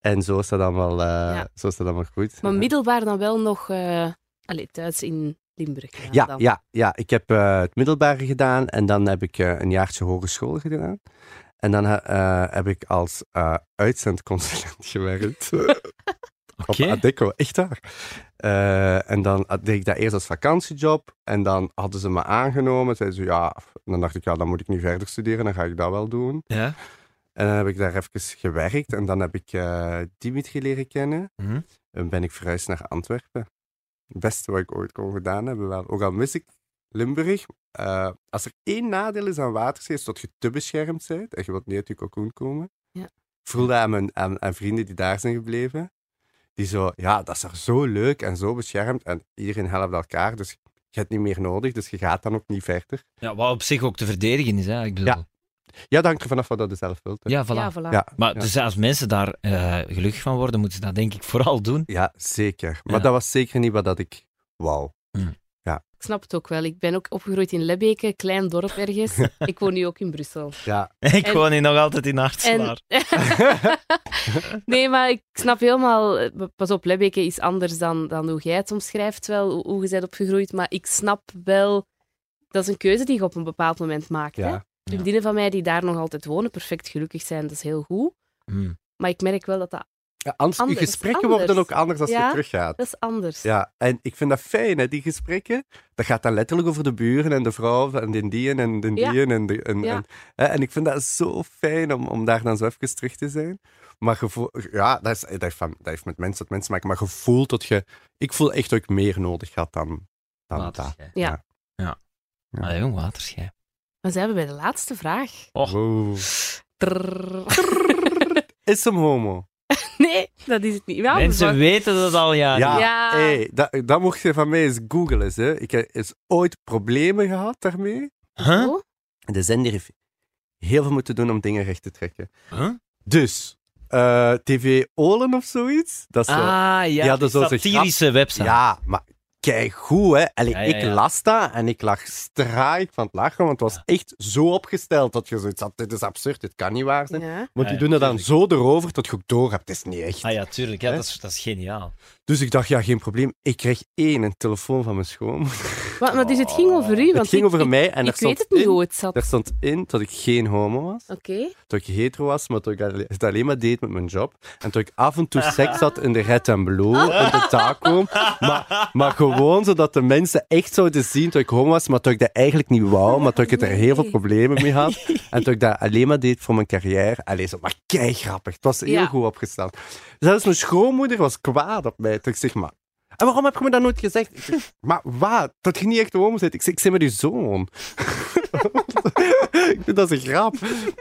Speaker 2: En zo is dat allemaal, eh,
Speaker 5: Ja.
Speaker 2: zo is dat allemaal goed.
Speaker 5: Maar
Speaker 2: Ja.
Speaker 5: middelbaar dan wel nog eh, allee, thuis in Limburg. gedaan
Speaker 2: Ja,
Speaker 5: dan.
Speaker 2: ja, ja, ik heb eh, het middelbare gedaan en dan heb ik eh, een jaartje hogeschool gedaan. <laughs> En dan eh, eh, heb ik als eh, uitzendconsulent gewerkt. Op
Speaker 4: Oké.
Speaker 2: Adecco, echt waar. Eh, en dan had- deed ik dat eerst als vakantiejob. En dan hadden ze me aangenomen. Zeiden ze, ja... En dan dacht ik, ja, dan moet ik nu verder studeren. Dan ga ik dat wel doen.
Speaker 4: Ja.
Speaker 2: En dan heb ik daar even gewerkt. En dan heb ik eh, Dimitri leren kennen.
Speaker 4: Mhm.
Speaker 2: En ben ik verhuisd naar Antwerpen. Het beste wat ik ooit kon gedaan hebben. Wel. Ook al mis ik Limburg. eh, als er één nadeel is aan waterzee, is dat je te beschermd bent. En je wilt niet uit je cocoon komen.
Speaker 5: Ja.
Speaker 2: Ik voelde aan, mijn, aan, aan vrienden die daar zijn gebleven. Die zo, ja, dat is er zo leuk en zo beschermd. En iedereen helpt elkaar. Dus je hebt niet meer nodig. Dus je gaat dan ook niet verder.
Speaker 4: ja, wat op zich ook te verdedigen is, hè? Ik bedoel. Ja,
Speaker 2: Ja, dat hangt er vanaf wat dat je zelf wilt. hè.
Speaker 4: voilà.
Speaker 5: Ja, voilà.
Speaker 2: Ja,
Speaker 4: Maar
Speaker 2: ja.
Speaker 4: dus als mensen daar eh, gelukkig van worden, moeten ze dat denk ik vooral doen. <laughs>
Speaker 2: Ja, zeker. Maar
Speaker 4: Ja.
Speaker 2: dat was zeker niet wat dat ik wou.
Speaker 5: Ik snap het ook wel. Ik ben ook opgegroeid in Lebbeke, klein dorp ergens.
Speaker 2: <laughs>
Speaker 5: ik woon nu ook in Brussel.
Speaker 2: Ja.
Speaker 4: Ik
Speaker 5: En-
Speaker 4: woon hier nog altijd in Hartslaar.
Speaker 5: nee, maar ik snap helemaal... eh, Pas op, Lebbeke is anders dan, dan hoe jij het omschrijft wel, hoe, hoe je bent opgegroeid. Maar ik snap wel... Dat is een keuze die je op een bepaald moment maakt. hè.
Speaker 2: Ja.
Speaker 5: Vriendinnen van mij die daar nog altijd wonen, perfect gelukkig zijn, dat is heel goed.
Speaker 4: Hmm.
Speaker 5: Maar ik merk wel dat dat,
Speaker 2: Ja, anders,
Speaker 5: Anders,
Speaker 2: je gesprekken
Speaker 5: anders.
Speaker 2: worden ook anders als
Speaker 5: Ja.
Speaker 2: je teruggaat.
Speaker 5: dat is anders.
Speaker 2: Ja, en ik vind dat fijn, hè, die gesprekken. Dat gaat dan letterlijk over de buren en de vrouw en de dieën en de
Speaker 5: Ja.
Speaker 2: dieën. En, de, en,
Speaker 5: Ja.
Speaker 2: en, hè, en ik vind dat zo fijn om, om daar dan zo even terug te zijn. Maar gevoel, ja, dat, is, dat, heeft van, dat heeft met mensen tot mensen te maken. Maar gevoel dat je... Ik voel echt dat ik meer nodig had dan, dan dat.
Speaker 4: Waterschij.
Speaker 5: Ja.
Speaker 4: Ja.
Speaker 2: Ja.
Speaker 4: Ah, jong, waterschij.
Speaker 5: Maar zijn we bij de laatste vraag.
Speaker 4: Och.
Speaker 2: Wow.
Speaker 5: Trrr.
Speaker 2: Is hem homo?
Speaker 5: <laughs> Nee, dat is het niet. Ja,
Speaker 4: mensen
Speaker 5: maar-
Speaker 4: weten dat al jaren.
Speaker 2: Ja,
Speaker 5: Ja.
Speaker 2: Hey, dat, dat mocht je van mij eens googlen. Hè. Ik heb eens ooit problemen gehad daarmee.
Speaker 4: Huh?
Speaker 5: Oh,
Speaker 2: De zender heeft heel veel moeten doen om dingen recht te trekken.
Speaker 4: Huh?
Speaker 2: Dus, eh, TV Olen of zoiets. Dat is zo.
Speaker 4: Ah, ja,
Speaker 2: Die
Speaker 4: die
Speaker 2: hadden zo'n
Speaker 4: satirische website.
Speaker 2: Ja, maar kijk goed, hè. Allee,
Speaker 4: Ja, ja,
Speaker 2: ik
Speaker 4: ja.
Speaker 2: las dat en ik lag straaik van het lachen, want het was echt zo opgesteld dat je zoiets had. Dit is absurd, dit kan niet waar zijn.
Speaker 5: ja.
Speaker 2: Want die
Speaker 4: Ja, ja,
Speaker 2: doen dat dan
Speaker 4: tuurlijk.
Speaker 2: zo erover dat je ook door hebt. Het is niet echt.
Speaker 4: Ah ja, tuurlijk. Ja,
Speaker 2: Hè?
Speaker 4: dat, is, dat is geniaal.
Speaker 2: Dus ik dacht, ja, geen probleem. Ik kreeg één een telefoon van mijn schoon.
Speaker 5: Maar, maar dus het ging over u. Want
Speaker 2: het ging
Speaker 5: ik,
Speaker 2: over
Speaker 5: ik-
Speaker 2: mij en
Speaker 5: Ik,
Speaker 2: daar stond
Speaker 5: weet het niet
Speaker 2: in-
Speaker 5: hoe het zat.
Speaker 2: Daar
Speaker 5: Oké.
Speaker 2: stond in dat ik geen homo was, dat ik hetero was, maar dat ik alle- het alleen maar deed met mijn job. En dat ik af en toe seks had in de Red en Blue, in de taco. Maar, maar gewoon zodat de mensen echt zouden zien dat ik homo was, maar dat ik dat eigenlijk niet wou, maar dat ik er heel veel problemen mee had. En dat ik dat alleen maar deed voor mijn carrière. Allee, zo, maar kei grappig. Het was heel
Speaker 5: Ja.
Speaker 2: goed opgestaan. Zelfs mijn schoonmoeder was kwaad op mij. Dat ik zeg, maar... En waarom heb je me dat nooit gezegd? Ik zeg, maar wat? Dat je niet echt homo bent. Ik zeg, ik zit met je zoon. <laughs> ik vind dat is een grap.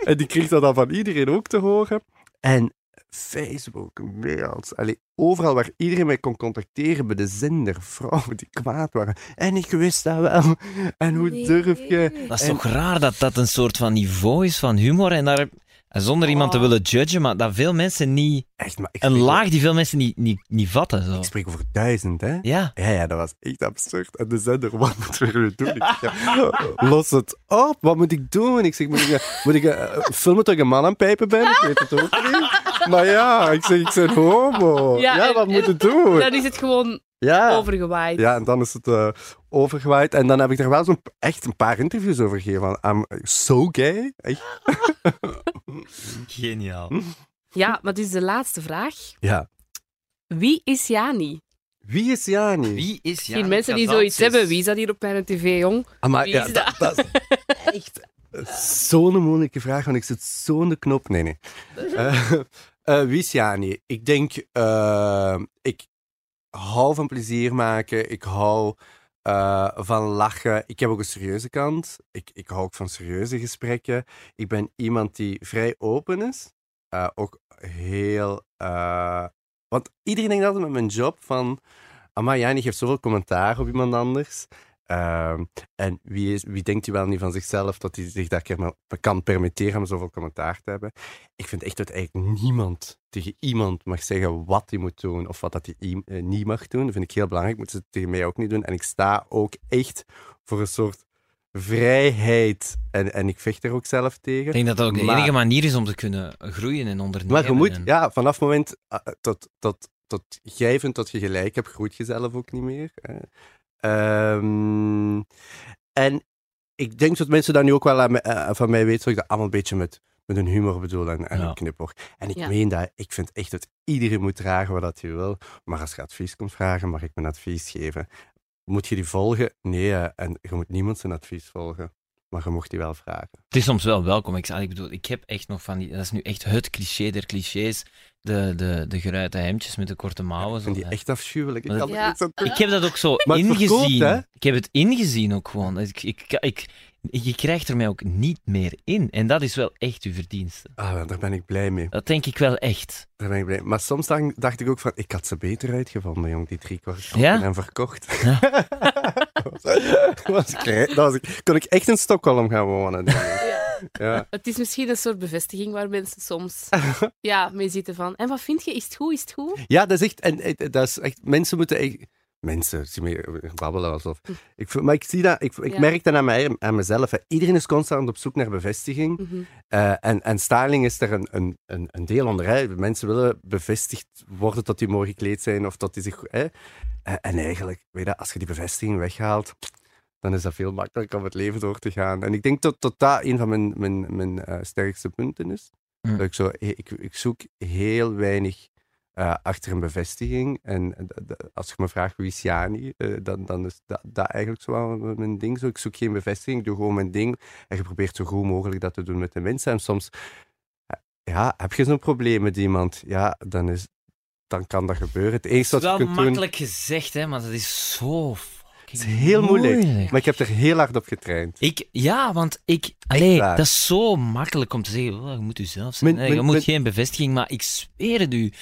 Speaker 2: En die kreeg dat dan van iedereen ook te horen. En Facebook, mails, allee, overal waar iedereen mij kon contacteren bij de zender, vrouwen die kwaad waren. En ik wist dat wel. En hoe durf je...
Speaker 4: Dat is
Speaker 2: En-
Speaker 4: toch raar dat dat een soort van niveau is van humor. En daar, en zonder iemand te
Speaker 5: Oh.
Speaker 4: willen judgen, maar dat veel mensen niet...
Speaker 2: Echt, maar ik
Speaker 4: Een
Speaker 2: spreek-
Speaker 4: laag die veel mensen niet, niet, niet vatten. Zo.
Speaker 2: Ik spreek over duizend, hè?
Speaker 4: Ja.
Speaker 2: Ja, ja, dat was echt absurd. En de zender, <laughs> wat moeten we nu doen? Ik zeg, los het op, wat moet ik doen? Ik zeg, moet ik, eh, moet ik eh, filmen dat ik een man aan het pijpen ben? Ik weet het ook niet. Maar ja, ik zeg, ik ben homo.
Speaker 5: Ja,
Speaker 2: Ja,
Speaker 5: en-
Speaker 2: wat moet
Speaker 5: en-
Speaker 2: ik doen?
Speaker 5: Dan is het gewoon
Speaker 2: Ja.
Speaker 5: overgewaaid.
Speaker 2: ja, en dan is het eh, overgewaaid. En dan heb ik er wel zo'n, echt een paar interviews over gegeven. Van, I'm so gay. Echt?
Speaker 4: Geniaal.
Speaker 2: Hm.
Speaker 5: Ja, maar dus de laatste vraag.
Speaker 2: Ja.
Speaker 5: Wie is Jani?
Speaker 2: Wie is Jani?
Speaker 4: Wie is
Speaker 5: Misschien mensen die zoiets hebben. Wie zat hier op mijn tv, jong?
Speaker 2: Amai,
Speaker 5: Wie
Speaker 2: Ah, ja,
Speaker 5: is
Speaker 2: dat? dat is echt zo'n moeilijke vraag, want ik zit zo in de knop. Nee, nee. Eh, eh, wie is Jani? Ik denk, eh, ik hou van plezier maken. Ik hou eh, van lachen. Ik heb ook een serieuze kant. Ik, ik hou ook van serieuze gesprekken. Ik ben iemand die vrij open is. Eh, ook heel... eh, want iedereen denkt altijd met mijn job van... Amai, Jani geeft zoveel commentaar op iemand anders. Ehm, en wie, is, wie denkt u wel niet van zichzelf dat hij zich daar keer maar kan permitteren om zoveel commentaar te hebben? Ik vind echt dat eigenlijk niemand tegen iemand mag zeggen wat hij moet doen of wat dat hij i- eh, niet mag doen. Dat vind ik heel belangrijk. Moeten ze het tegen mij ook niet doen. En ik sta ook echt voor een soort vrijheid. En, en ik vecht er ook zelf tegen.
Speaker 4: Ik denk dat dat ook de
Speaker 2: Maar-
Speaker 4: enige manier is om te kunnen groeien en ondernemen.
Speaker 2: Maar je moet,
Speaker 4: en-
Speaker 2: ja, vanaf het moment eh, dat, dat, dat jij vindt dat je gelijk hebt, groeit je zelf ook niet meer. hè. Ehm, en ik denk dat mensen daar nu ook wel aan, me- eh, van mij weten, dat ik dat allemaal een beetje met met een humor bedoel en, en
Speaker 4: Ja.
Speaker 2: een knipoog. En ik
Speaker 5: Ja.
Speaker 2: meen dat, ik vind echt dat iedereen moet dragen wat dat je wil. Maar als je advies komt vragen, mag ik mijn advies geven. Moet je die volgen? Nee, hè. en je moet niemand zijn advies volgen. Maar je mocht die wel vragen.
Speaker 4: Het is soms wel welkom. Ik, zei- ik bedoel, ik heb echt nog van die. Dat is nu echt het cliché der clichés. De, de, de geruite hemdjes met de korte mouwen.
Speaker 2: Ik vind
Speaker 4: zo,
Speaker 2: die
Speaker 4: hè.
Speaker 2: echt afschuwelijk. Ik
Speaker 4: Maar
Speaker 2: kan
Speaker 5: dat-
Speaker 2: er niks aan doen.
Speaker 4: Ik heb dat ook zo
Speaker 2: Maar het
Speaker 4: ingezien.
Speaker 2: verkoopt, hè?
Speaker 4: ik heb het ingezien ook gewoon. Dus Ik, ik, ik, je krijgt er mij ook niet meer in. En dat is wel echt uw verdienste.
Speaker 2: Ah, daar ben ik blij mee.
Speaker 4: Dat denk ik wel echt.
Speaker 2: Daar ben ik blij. mee. Maar soms dan- dacht ik ook van, ik had ze beter uitgevonden, jong, die drie kwart
Speaker 4: Ja?
Speaker 2: en <laughs> verkocht. dat was, ik- dat was, ik- kon ik echt in Stockholm gaan wonen. denk ik. Ja.
Speaker 5: Het is misschien een soort bevestiging waar mensen
Speaker 2: <laughs>
Speaker 5: soms ja, mee zitten van. En wat vind je? Is het goed? Is het goed?
Speaker 2: ja, dat is echt, en, eh, dat is echt mensen moeten echt, mensen, zie me babbelen alsof. Ik, voel- maar ik zie dat, ik, ik
Speaker 5: Ja.
Speaker 2: merk dat aan, mij, aan mezelf. hè. Iedereen is constant op zoek naar bevestiging.
Speaker 5: Mhm.
Speaker 2: Eh, en, en styling is daar een, een, een, een deel onder. Hè. Mensen willen bevestigd worden dat die mooi gekleed zijn of dat die zich. Hè. Eh, en eigenlijk, weet je, als je die bevestiging weghaalt, dan is dat veel makkelijker om het leven door te gaan. En ik denk dat dat, dat een van mijn, mijn, mijn eh, sterkste punten is.
Speaker 4: Mm.
Speaker 2: Dat ik, zo, ik, ik zoek heel weinig eh, achter een bevestiging. En eh, d- d- als je me vraagt wie is Jani, eh, dan, dan is dat, dat eigenlijk zo wel mijn ding. Zo, ik zoek geen bevestiging, ik doe gewoon mijn ding. En je probeert zo goed mogelijk dat te doen met de mensen. En soms, eh, ja, heb je zo'n probleem met iemand, ja, dan, is, dan kan dat gebeuren. Het enige
Speaker 4: Het
Speaker 2: wat
Speaker 4: is
Speaker 2: je
Speaker 4: wel
Speaker 2: kunt doen...
Speaker 4: makkelijk gezegd, hè, maar dat is zo fucking
Speaker 2: Het is heel moeilijk.
Speaker 4: moeilijk.
Speaker 2: Maar ik heb er heel hard op getraind.
Speaker 4: Ik, ja, want ik. Allee,
Speaker 2: waar.
Speaker 4: dat is zo makkelijk om te zeggen. oh, je moet jezelf zijn.
Speaker 2: Mijn-
Speaker 4: Nee, je
Speaker 2: mijn-
Speaker 4: moet
Speaker 2: mijn-
Speaker 4: geen bevestiging, maar ik zweer het u.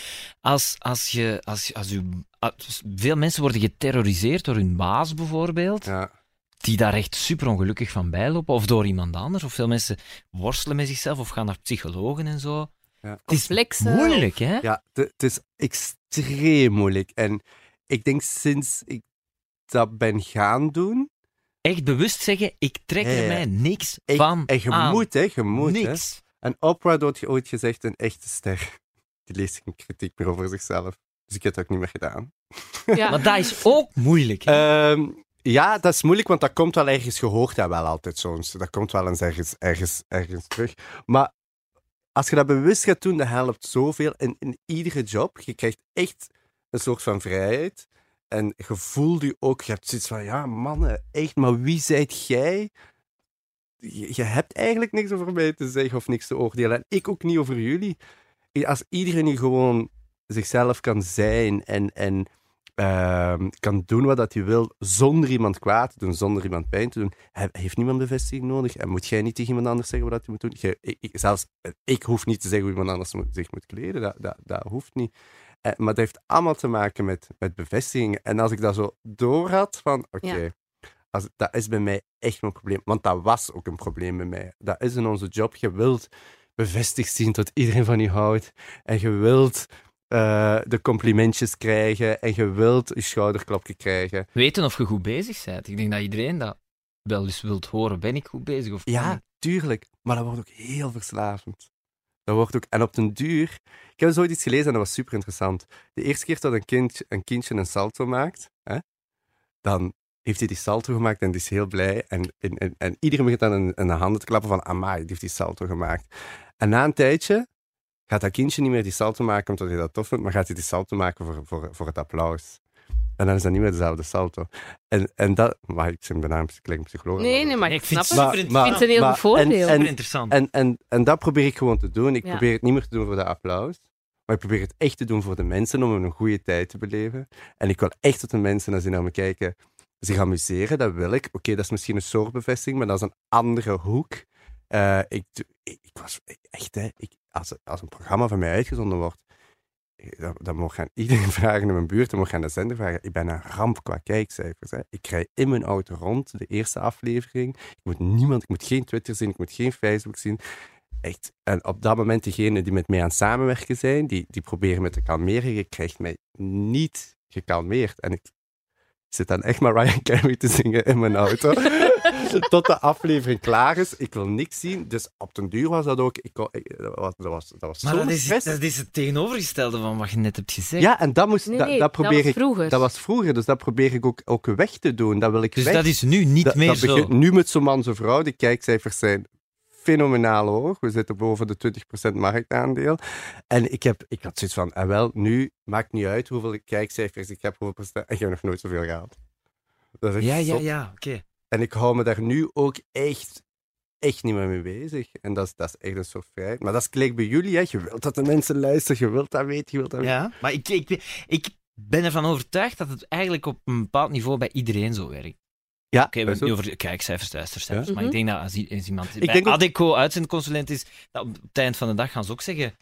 Speaker 4: Als, als je. Als, je- als je als- veel mensen worden geterroriseerd door hun baas bijvoorbeeld,
Speaker 2: Ja.
Speaker 4: die daar echt super ongelukkig van bijlopen, of door iemand anders. Of veel mensen worstelen met zichzelf of gaan naar psychologen en zo.
Speaker 2: Ja.
Speaker 4: Het is
Speaker 5: Complexe-
Speaker 4: moeilijk, hè?
Speaker 2: Ja, het- het is extreem moeilijk. En ik denk sinds ik dat ben gaan doen.
Speaker 4: Echt bewust zeggen: ik trek
Speaker 2: Ja, ja,
Speaker 4: er
Speaker 2: ja.
Speaker 4: mij niks
Speaker 2: Ik,
Speaker 4: van.
Speaker 2: en je
Speaker 4: aan.
Speaker 2: moet, hè? Je moet, hè.
Speaker 4: niks.
Speaker 2: En Oprah had ooit gezegd: een echte ster. Die leest geen kritiek meer over zichzelf. Dus ik heb het ook niet meer gedaan.
Speaker 5: Ja.
Speaker 4: Maar dat is ook moeilijk. hè.
Speaker 2: Ehm, ja, dat is moeilijk, want dat komt wel ergens gehoord, dat wel altijd soms. Dat komt wel eens ergens, ergens, ergens terug. Maar als je dat bewust gaat doen, dat helpt zoveel in, in iedere job. Je krijgt echt een soort van vrijheid. En je voelt je ook, je hebt zoiets van, ja mannen, echt, maar wie zijt jij? Je, je hebt eigenlijk niks over mij te zeggen of niks te oordelen. En ik ook niet over jullie. Als iedereen hier gewoon zichzelf kan zijn en, en ehm, kan doen wat dat hij wil, zonder iemand kwaad te doen, zonder iemand pijn te doen, he- heeft niemand bevestiging nodig. En moet jij niet tegen iemand anders zeggen wat dat hij moet doen? Jij- ik, ik- zelfs eh, ik hoef niet te zeggen hoe iemand anders moet- zich moet kleden. Dat, dat, dat hoeft niet. Eh, maar dat heeft allemaal te maken met, met bevestiging. En als ik dat zo door had, van oké, als, dat is bij mij echt mijn probleem. Want dat was ook een probleem bij mij. Dat is in onze job. Je wilt bevestigd zien dat iedereen van je houdt. En je wilt eh, de complimentjes krijgen. En je wilt je schouderklopje krijgen.
Speaker 4: weten of je goed bezig bent. Ik denk dat iedereen dat wel eens wilt horen. Ben ik goed bezig? Of
Speaker 2: Ja, tuurlijk. Maar dat wordt ook heel verslavend. Dat wordt ook, en op den duur... Ik heb zo iets gelezen en dat was super interessant. De eerste keer dat een, kind, een kindje een salto maakt, hè, dan heeft hij die salto gemaakt en die is heel blij. En, en, en, en iedereen begint dan in, in de handen te klappen van, amai, die heeft die salto gemaakt. En na een tijdje gaat dat kindje niet meer die salto maken omdat hij dat tof vindt, maar gaat hij die salto maken voor, voor, voor het applaus. En dan is dat niet meer dezelfde salto. En, en dat... Maar ik ben bijna een klink psycholoog.
Speaker 5: Nee, nee, maar
Speaker 4: Nee,
Speaker 5: ik
Speaker 4: ik vind
Speaker 5: snap
Speaker 4: het
Speaker 5: het.
Speaker 4: super interessant.
Speaker 5: Ik vind het een heel goed
Speaker 2: en-
Speaker 5: voordeel.
Speaker 2: en-
Speaker 4: interessant.
Speaker 2: en, en, en dat probeer ik gewoon te doen. Ik
Speaker 5: Ja.
Speaker 2: probeer het niet meer te doen voor de applaus. Maar ik probeer het echt te doen voor de mensen om een goede tijd te beleven. En ik wil echt dat de mensen, als ze naar me kijken, zich amuseren. Dat wil ik. Oké, dat is misschien een soort bevestiging, maar dat is een andere hoek. Eh, ik, doe- ik, ik was echt, hè, ik, als, als een programma van mij uitgezonden wordt, eh, dan, dan mocht aan iedereen <laughs> vragen in mijn buurt, dan mocht aan de zender vragen. Ik ben een ramp qua kijkcijfers. Hè. Ik rij in mijn auto rond, de eerste aflevering. Ik moet niemand, ik moet geen Twitter zien, ik moet geen Facebook zien. Echt. En op dat moment, degenen die met mij aan het samenwerken zijn, die, die proberen me te kalmeren. Je krijgt mij niet gekalmeerd. En ik zit dan echt maar Ryan Carey te zingen in mijn
Speaker 4: <laughs>
Speaker 2: auto. Tot de aflevering klaar is. Ik wil niks zien. Dus op den duur was dat ook... Ik, kon- ik- dat was, dat was, dat was
Speaker 4: maar
Speaker 2: zo'n
Speaker 4: dat is,
Speaker 2: stress.
Speaker 4: dat is het tegenovergestelde van wat je net hebt gezegd.
Speaker 2: Ja, en dat, moest,
Speaker 5: Nee,
Speaker 2: dat,
Speaker 5: nee,
Speaker 2: dat probeer
Speaker 5: was
Speaker 2: ik...
Speaker 5: vroeger.
Speaker 2: Dat was vroeger, dus dat probeer ik ook, ook weg te doen. Dat wil ik
Speaker 4: dus
Speaker 2: weg.
Speaker 4: dat is nu niet
Speaker 2: Dat-
Speaker 4: meer
Speaker 2: dat
Speaker 4: zo.
Speaker 2: begint nu met zo'n man, zo'n vrouw. De kijkcijfers zijn fenomenaal hoog. We zitten boven de 20% marktaandeel. En ik, heb, ik had zoiets van, en wel, nu maakt niet uit hoeveel kijkcijfers ik heb, hoeveel procent, ik heb nog nooit zoveel gehaald. Dat is echt
Speaker 4: Ja, ja,
Speaker 2: zot.
Speaker 4: ja, oké.
Speaker 2: En ik hou me daar nu ook echt, echt niet meer mee bezig. En dat is, dat is echt een soort vrijheid. Maar dat is gelijk bij jullie, hè. Je wilt dat de mensen luisteren, je wilt dat weten, je wilt dat weten.
Speaker 4: Ja, maar ik, ik, ik ben ervan overtuigd dat het eigenlijk op een bepaald niveau bij iedereen zo werkt.
Speaker 2: Ja,
Speaker 4: Oké, we hebben het nu over kijkcijfers, luistercijfers.
Speaker 5: Ja.
Speaker 4: Maar ik denk dat als, i- als iemand
Speaker 2: Ik
Speaker 4: bij
Speaker 2: denk ook-
Speaker 4: Adeco uitzendconsulent is, dat op het eind van de dag gaan ze ook zeggen...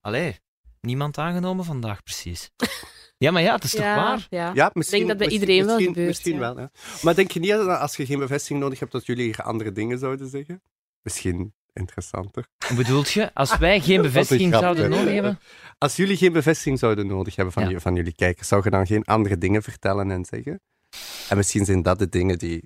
Speaker 4: Allee, niemand aangenomen vandaag precies. <laughs> ja, maar ja, het is toch
Speaker 5: ja,
Speaker 4: waar?
Speaker 5: Ja.
Speaker 2: Ja, misschien,
Speaker 5: Ah, denk dat bij
Speaker 2: misschien-
Speaker 5: iedereen wel
Speaker 2: misschien,
Speaker 5: gebeurt,
Speaker 2: Misschien
Speaker 5: ja.
Speaker 2: wel, hè. Maar denk je niet dat als je geen bevestiging nodig hebt, dat jullie hier andere dingen zouden zeggen? Misschien interessanter.
Speaker 4: Hoe bedoelt je? Als wij geen bevestiging
Speaker 2: grap,
Speaker 4: zouden
Speaker 2: hè.
Speaker 4: nodig hebben...
Speaker 2: Als jullie geen bevestiging zouden nodig hebben van,
Speaker 4: Ja.
Speaker 2: je- van jullie kijkers, zou je dan geen andere dingen vertellen en zeggen? En misschien zijn dat de dingen die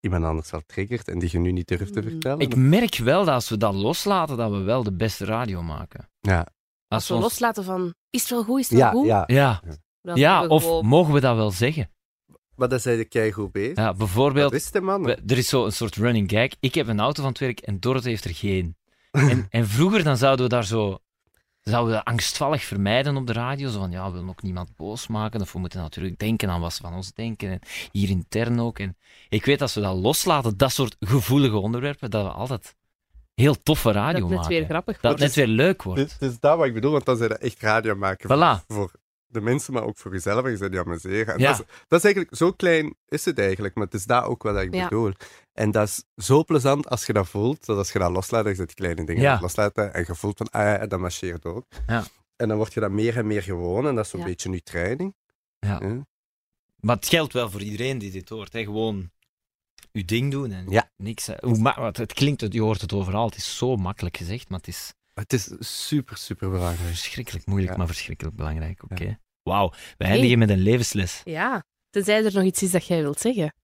Speaker 2: iemand anders wel triggert en die je nu niet durft te
Speaker 5: Mm.
Speaker 2: vertellen.
Speaker 4: Ik merk wel dat als we dat loslaten, dat we wel de beste radio maken.
Speaker 2: Ja,
Speaker 5: Als we
Speaker 4: ons-
Speaker 5: loslaten van, is het wel goed, is het wel
Speaker 2: ja,
Speaker 5: goed?
Speaker 2: ja.
Speaker 4: Ja,
Speaker 5: Dan
Speaker 4: ja
Speaker 5: hebben we
Speaker 4: of
Speaker 5: gewoon-
Speaker 4: mogen we dat wel zeggen?
Speaker 2: Maar dat zei de keigoed bezig.
Speaker 4: Ja, bijvoorbeeld...
Speaker 2: Dat is de man.
Speaker 4: We- er is zo'n soort running gag. Ik heb een auto van het werk en Dorot heeft er
Speaker 5: <laughs>
Speaker 4: geen. En, en vroeger dan zouden we daar zo... Zouden we dat angstvallig vermijden op de radio. Zo van, ja, we willen ook niemand boos maken. Of we moeten natuurlijk denken aan wat ze van ons denken. En hier intern ook. En ik weet, als we dat loslaten, dat soort gevoelige onderwerpen, dat we altijd heel toffe radio
Speaker 5: dat net
Speaker 4: maken.
Speaker 5: weer grappig
Speaker 4: dat
Speaker 5: wordt.
Speaker 4: het net weer leuk wordt.
Speaker 2: Dus, dus dat wat ik bedoel, want dan zijn dat echt radio maken voor,
Speaker 4: Voilà.
Speaker 2: voor de mensen, maar ook voor jezelf en je bent die amuseren. En
Speaker 4: Ja.
Speaker 2: dat, is, dat is eigenlijk, zo klein is het eigenlijk, maar het is dat ook wat ik
Speaker 5: Ja.
Speaker 2: bedoel. En dat is zo plezant als je dat voelt, dat als je dat loslaat, dat je die kleine dingen
Speaker 4: Ja.
Speaker 2: aan het loslaten en je voelt van, ah ja, dat marcheert ook.
Speaker 4: Ja.
Speaker 2: En dan word je dat meer en meer gewoon en dat is zo'n
Speaker 5: Ja.
Speaker 2: beetje je training.
Speaker 4: Ja.
Speaker 2: Hè?
Speaker 4: Maar het geldt wel voor iedereen die dit hoort. Hè. Gewoon uw ding doen en
Speaker 2: Ja.
Speaker 4: niks. hè. Hoe ma- want het klinkt, het- je hoort het overal. Het is zo makkelijk gezegd, maar het is...
Speaker 2: Het is super, super belangrijk.
Speaker 4: Verschrikkelijk moeilijk,
Speaker 2: Ja.
Speaker 4: maar verschrikkelijk belangrijk. Oké.
Speaker 2: Ja.
Speaker 4: Wauw, we eindigen met een levensles.
Speaker 5: Ja, tenzij er nog iets is dat jij wilt zeggen.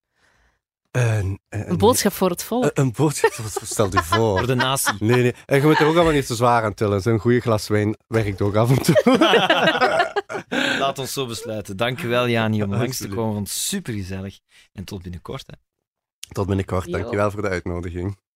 Speaker 2: Een,
Speaker 5: Een boodschap voor het volk.
Speaker 2: Een, een boodschap, stel je voor.
Speaker 4: Voor de
Speaker 2: <laughs>
Speaker 4: natie.
Speaker 2: Nee, nee. En je moet er ook allemaal niet te zwaar aan tillen. Zo'n goede glas wijn werkt ook af en toe.
Speaker 4: Laat ons zo besluiten. Dankjewel,
Speaker 2: <laughs>
Speaker 4: Jani, om langs te
Speaker 2: Absoluut.
Speaker 4: komen. Vond het supergezellig. En tot binnenkort. Hè.
Speaker 2: Tot binnenkort.
Speaker 5: Jo.
Speaker 2: Dankjewel voor de uitnodiging.